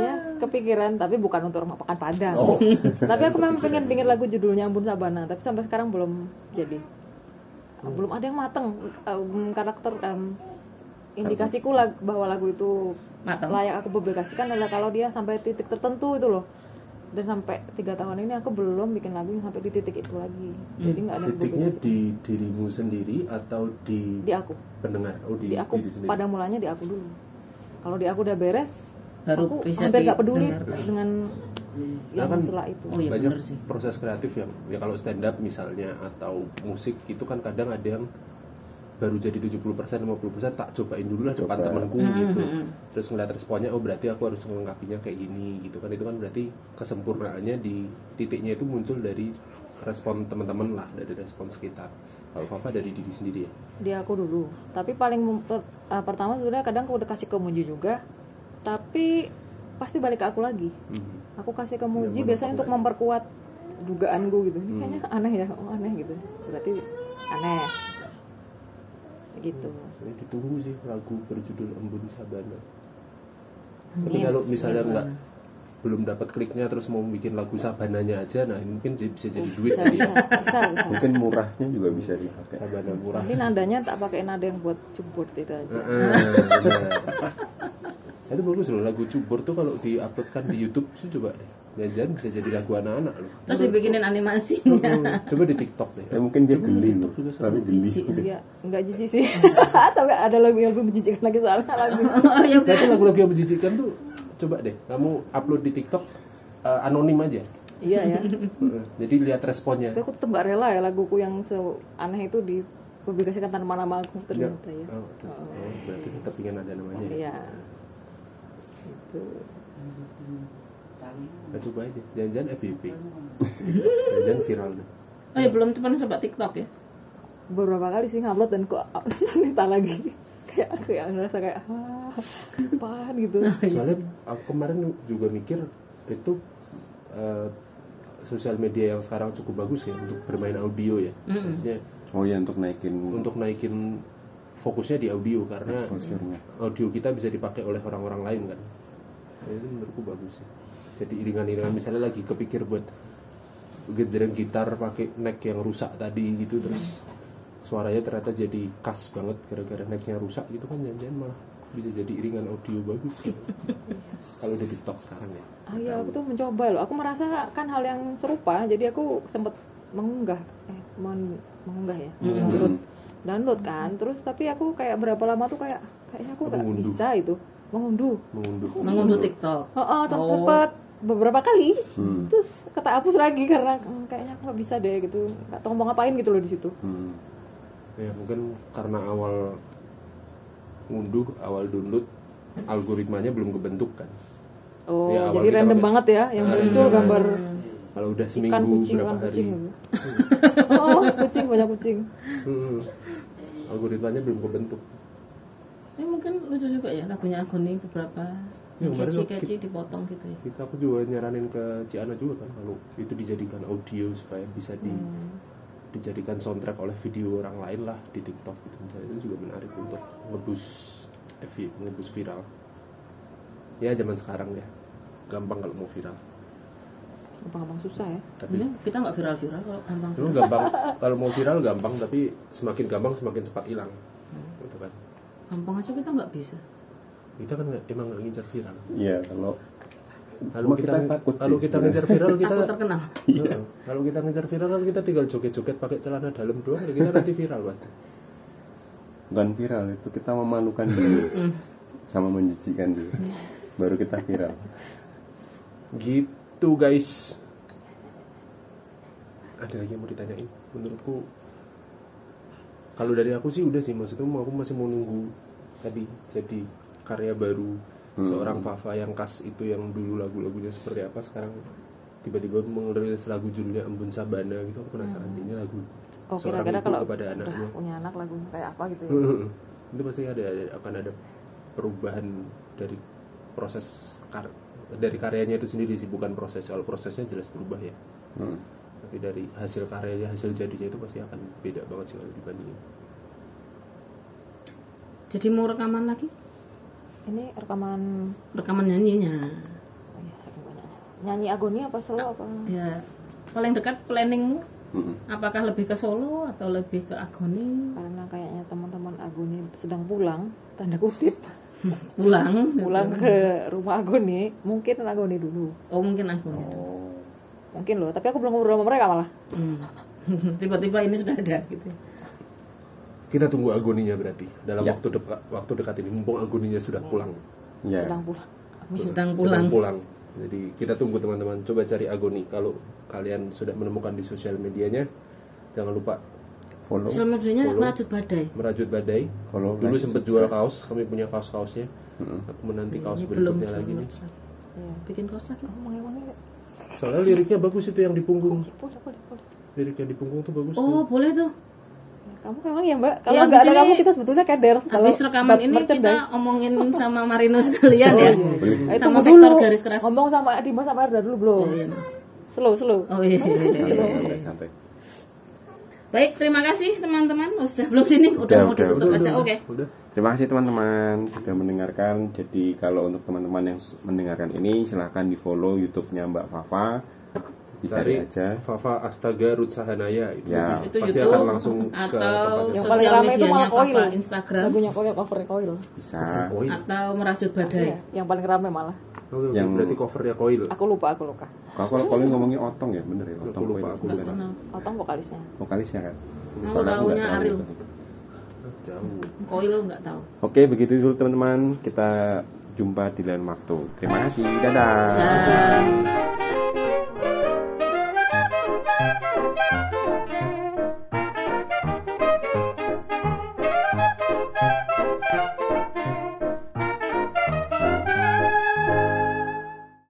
Speaker 4: ya kepikiran tapi bukan untuk rumah makan padang
Speaker 2: oh
Speaker 4: tapi aku memang pengen bikin lagu judulnya Ambun Sabana tapi sampai sekarang belum jadi belum ada yang mateng Em, karakter em, indikasiku lag- bahwa lagu itu
Speaker 3: matang
Speaker 4: layak aku publikasikan adalah kalau dia sampai titik tertentu itu loh dan sampai tiga tahun ini aku belum bikin lagu yang sampai di titik itu lagi jadi nggak ada yang
Speaker 2: Hmm, titiknya di dirimu sendiri atau di
Speaker 4: di aku
Speaker 2: pendengar oh di,
Speaker 4: di aku
Speaker 2: diri sendiri
Speaker 4: pada mulanya di aku dulu kalau di aku udah beres
Speaker 3: Baru
Speaker 4: aku
Speaker 3: bisa
Speaker 4: hampir nggak peduli
Speaker 3: didengarkan.
Speaker 4: dengan yang
Speaker 2: Iya. Karena kan-
Speaker 4: setelah itu
Speaker 3: oh iya
Speaker 2: banyak
Speaker 3: bener sih
Speaker 2: proses kreatif yang ya kalau stand up misalnya atau musik itu kan kadang ada yang baru jadi 70% 50% tak cobain dulu lah depan
Speaker 1: Coba.
Speaker 2: temanku
Speaker 3: Hmm,
Speaker 2: gitu.
Speaker 3: hmm, hmm.
Speaker 2: Terus ngeliat responnya oh berarti aku harus melengkapinya kayak gini gitu kan itu kan berarti kesempurnaannya di titiknya itu muncul dari respon teman-teman lah dari respon sekitar. Kalau Fafa dari diri sendiri ya.
Speaker 4: di aku dulu tapi paling mem- per- eh, pertama sebenarnya kadang aku udah kasih ke Muji juga tapi pasti balik ke aku lagi aku kasih ke Muji
Speaker 2: Yang
Speaker 4: biasanya
Speaker 2: mana
Speaker 4: untuk
Speaker 2: kamu
Speaker 4: memperkuat dugaan gue gitu ini kayaknya aneh ya oh, aneh gitu berarti aneh gitu
Speaker 2: Ini ditunggu sih lagu berjudul Embun Sabana. Tapi kalau misalnya nggak belum dapat kliknya terus mau bikin lagu Sabananya aja, nah mungkin j- bisa jadi duit
Speaker 4: bisa
Speaker 2: tadi
Speaker 4: bisa
Speaker 2: ya.
Speaker 4: bisa, bisa.
Speaker 1: mungkin murahnya juga bisa dipakai
Speaker 2: Sabana murah.
Speaker 4: Nanti nadanya tak pakai nada yang buat cebur itu aja.
Speaker 2: Heeh, benar. itu Ah, bagus loh lagu cubur tuh kalau diuploadkan di YouTube sih coba deh. Jangan-jangan bisa jadi lagu anak-anak loh.
Speaker 3: terus dibikinin animasinya
Speaker 2: Coba di TikTok deh.
Speaker 1: ya mungkin dia
Speaker 2: Coba
Speaker 1: geli
Speaker 2: di
Speaker 1: loh
Speaker 2: TikTok juga seru.
Speaker 1: tapi geli
Speaker 4: Iya, nggak jijik sih. Tapi ada lagu yang lebih menjijikan lagi soalnya lagu.
Speaker 3: oh iya
Speaker 2: Tapi lagu-lagu yang menjijikan tuh coba deh kamu upload di TikTok eh, anonim aja.
Speaker 4: Iya ya.
Speaker 2: Heeh, Jadi lihat responnya.
Speaker 4: Tapi aku tetap nggak rela ya laguku yang seaneh itu dipublikasikan tanpa nama aku ternyata ya.
Speaker 2: Oh, tuh. Oh, berarti tetap ingin ada namanya. ya?
Speaker 4: Iya. Gitu.
Speaker 2: Nah, coba aja. Jangan-jangan FYP. Jangan-jangan viral. deh.
Speaker 3: oh iya belum teman sobat TikTok ya
Speaker 4: Beberapa kali sih ngupload dan ku nita lagi. Kayak aku yang ngerasa kayak ah, apaan gitu.
Speaker 2: Soalnya aku kemarin juga mikir itu eh, sosial media yang sekarang cukup bagus ya untuk bermain audio ya. Maksudnya
Speaker 1: oh ya untuk naikin
Speaker 2: untuk naikin fokusnya di audio karena
Speaker 1: exposure-nya
Speaker 2: audio kita bisa dipakai oleh orang-orang lain kan ya, itu menurutku bagus sih jadi iringan-iringan misalnya lagi kepikir buat genjreng gitar pakai neck yang rusak tadi gitu terus suaranya ternyata jadi khas banget gara-gara necknya rusak gitu kan jangan-jangan malah bisa jadi iringan audio bagus kalau di TikTok sekarang ya
Speaker 4: Ah iya, aku tuh mencoba loh. Aku merasakan hal yang serupa, jadi aku sempat mengunggah, eh, men- mengunggah ya, download, download kan. Terus tapi aku kayak berapa lama tuh kayak kayaknya aku
Speaker 2: Kamu
Speaker 4: nggak
Speaker 2: ngunduh.
Speaker 4: bisa itu mengunduh.
Speaker 2: mengunduh
Speaker 3: mengunduh TikTok
Speaker 4: Oh, oh Hmm. tapi
Speaker 3: Oh.
Speaker 4: sempat beberapa kali. Terus kata hapus lagi karena "Hmm, kayaknya aku nggak bisa deh gitu. Nggak tahu mau ngapain gitu loh di situ.
Speaker 1: Hmm.
Speaker 2: ya mungkin karena awal ngunduh awal download algoritmanya belum kebentuk kan
Speaker 4: Oh,
Speaker 2: Ya, awal
Speaker 4: jadi
Speaker 2: kita
Speaker 4: random
Speaker 2: pakai-
Speaker 4: banget ya yang
Speaker 2: Ah,
Speaker 4: muncul
Speaker 2: iya.
Speaker 4: gambar
Speaker 2: kalau udah
Speaker 4: ikan
Speaker 2: seminggu
Speaker 4: kucing
Speaker 2: berapa
Speaker 4: ikan
Speaker 2: hari
Speaker 4: kucing gitu. oh, kucing banyak kucing.
Speaker 2: Hmm. Algoritmanya belum kebentuk.
Speaker 3: ini mungkin lucu juga ya lagunya Agoni beberapa
Speaker 2: Ya,
Speaker 3: yang
Speaker 2: kemarin
Speaker 3: keci
Speaker 2: aku-
Speaker 3: keci dipotong gitu ya
Speaker 2: Kita aku juga nyaranin ke Ciana juga kan kalau itu dijadikan audio supaya bisa di
Speaker 4: Hmm.
Speaker 2: dijadikan soundtrack oleh video orang lain lah di TikTok gitu misalnya itu juga menarik untuk ngebus eh, ngebus viral. Ya zaman sekarang ya gampang kalau mau viral.
Speaker 4: Gampang-gampang susah ya.
Speaker 2: Tapi
Speaker 3: Ya, kita nggak viral viral kalau gampang
Speaker 2: dulu gampang kalau mau viral gampang tapi semakin gampang semakin cepat hilang. Gitu kan.
Speaker 3: gampang aja kita nggak bisa
Speaker 2: Kita kan nggak- emang nggak ngincar viral.
Speaker 1: Iya kalau Cuma
Speaker 2: Kalau kita,
Speaker 1: kita takut sih
Speaker 2: kalau kita
Speaker 1: sebenarnya.
Speaker 2: ngincar viral kita
Speaker 3: aku terkenal
Speaker 2: Heeh. Kalau kita ngejar viral kan kita tinggal joget-joget pakai celana dalam doang, ya kita nanti viral pasti.
Speaker 1: bukan viral itu kita memalukan dulu sama menjijikan dulu baru kita viral
Speaker 2: Gitu guys. Ada lagi yang mau ditanyain? Menurutku kalau dari aku sih udah sih maksudnya mau- aku masih mau nunggu tadi jadi karya baru
Speaker 1: Hmm.
Speaker 2: seorang Fafa yang khas itu yang dulu lagu-lagunya seperti apa sekarang tiba-tiba merilis lagu judulnya Embun Sabana gitu aku penasaran sih ini lagu
Speaker 4: Oh,
Speaker 2: seorang
Speaker 4: kira-kira
Speaker 2: ibu
Speaker 4: kalau
Speaker 2: kepada
Speaker 4: udah
Speaker 2: anaknya Hmm.
Speaker 4: punya anak lagunya kayak apa gitu ya.
Speaker 2: Heeh. itu pasti ada, ada- akan ada perubahan dari proses kar- dari karyanya itu sendiri sih bukan proses kalau prosesnya jelas berubah ya
Speaker 1: Hmm.
Speaker 2: tapi dari hasil karyanya hasil jadinya itu pasti akan beda banget sih kalau dibandingin
Speaker 3: Jadi mau rekaman lagi?
Speaker 4: Ini rekaman
Speaker 3: Rekaman nyanyinya.
Speaker 4: oh ya, saking banyaknya. Nyanyi agoni apa solo apa?
Speaker 3: Ya paling dekat planningmu
Speaker 1: Mm-mm.
Speaker 3: apakah lebih ke Solo atau lebih ke Agoni?
Speaker 4: Karena kayaknya teman-teman Agoni sedang pulang, tanda kutip,
Speaker 3: Pulang? gitu.
Speaker 4: pulang ke rumah Agoni, mungkin Agoni dulu.
Speaker 3: Oh mungkin Agoni.
Speaker 1: Oh.
Speaker 4: Mungkin loh, tapi aku belum ngobrol sama mereka malah.
Speaker 3: Hmm. Tiba-tiba ini sudah ada gitu.
Speaker 2: kita tunggu agoninya berarti dalam
Speaker 1: Ya.
Speaker 2: waktu dekat waktu dekat ini mumpung agoninya sudah pulang
Speaker 1: Ya.
Speaker 4: Sedang pulang.
Speaker 3: Sedang pulang.
Speaker 2: jadi kita tunggu teman-teman coba cari agoni kalau kalian sudah menemukan di sosial medianya jangan lupa
Speaker 1: Follow.
Speaker 3: Sosial medianya
Speaker 2: Follow.
Speaker 3: merajut badai.
Speaker 2: merajut badai
Speaker 1: Follow.
Speaker 2: dulu
Speaker 1: like,
Speaker 2: sempat jual kaos kami punya kaos kaosnya aku menanti kaos
Speaker 3: Ini belum
Speaker 2: berikutnya
Speaker 3: jual
Speaker 2: lagi nih
Speaker 3: merch lagi. Ya, Bikin kos lagi.
Speaker 4: Kamu wangi-wangi.
Speaker 2: soalnya liriknya bagus itu yang di punggung
Speaker 4: Boleh, boleh, boleh.
Speaker 2: lirik yang di punggung tuh bagus tuh.
Speaker 3: Oh boleh tuh.
Speaker 4: Kamu memang ya mbak, kalau
Speaker 3: Ya,
Speaker 4: nggak
Speaker 3: abis
Speaker 4: ada
Speaker 3: ini-
Speaker 4: kamu kita sebetulnya kader. Kalau
Speaker 3: Habis rekaman
Speaker 4: buat
Speaker 3: ini
Speaker 4: merchandise.
Speaker 3: kita omongin sama Marino sekalian ya.
Speaker 4: Eh,
Speaker 3: sama
Speaker 4: tunggu
Speaker 3: Victor
Speaker 4: dulu.
Speaker 3: garis keras. Iya,
Speaker 4: Ngomong sama Dimas sama Arda dulu belum? Slow, slow.
Speaker 3: Oh iya.
Speaker 1: Santai, santai, santai.
Speaker 3: Baik, terima kasih teman-teman. Oh, sudah belum sini? Udah,
Speaker 1: Udah,
Speaker 3: mau
Speaker 1: udah,
Speaker 3: ditutup
Speaker 1: udah,
Speaker 3: aja. Oke.
Speaker 2: udah
Speaker 1: Terima kasih teman-teman sudah mendengarkan. Jadi kalau untuk teman-teman yang s- mendengarkan ini silahkan di follow YouTube-nya Mbak Fafa. Dicari
Speaker 2: cari
Speaker 1: aja.
Speaker 2: Eh, Fafa Astaga Ruth Sahanaya itu
Speaker 1: Ya.
Speaker 2: nanti
Speaker 3: Itu
Speaker 2: pasti
Speaker 3: YouTube
Speaker 2: akan langsung ke
Speaker 3: atau
Speaker 2: tempatnya.
Speaker 4: Yang paling
Speaker 3: sosial
Speaker 4: rame itu
Speaker 3: medianya
Speaker 4: malah Koil.
Speaker 3: Fafa Instagram
Speaker 4: Lagunya Koil, covernya Koil.
Speaker 1: Bisa.
Speaker 2: Koil.
Speaker 3: atau merajut
Speaker 4: Iya,
Speaker 3: badai.
Speaker 4: yang paling rame malah.
Speaker 2: Oke, oke,
Speaker 1: Yang-
Speaker 2: berarti covernya koil
Speaker 4: Aku lupa, aku lupa.
Speaker 1: Kalau kalau Colin ngomongnya otong ya, bener ya, otong
Speaker 2: lupa,
Speaker 1: Colin.
Speaker 2: aku
Speaker 1: Bener.
Speaker 3: Kenal.
Speaker 4: Otong vokalisnya.
Speaker 1: Vokalisnya kan. Soalnya
Speaker 3: Aku
Speaker 1: aku nggak
Speaker 3: taunya
Speaker 1: terlalu
Speaker 3: Ariel.
Speaker 1: ikutin.
Speaker 2: Ah, jauh
Speaker 3: Koil nggak tahu.
Speaker 1: Oke, begitu dulu teman-teman. Kita jumpa di lain waktu. Terima kasih. Dadah.
Speaker 3: Nah,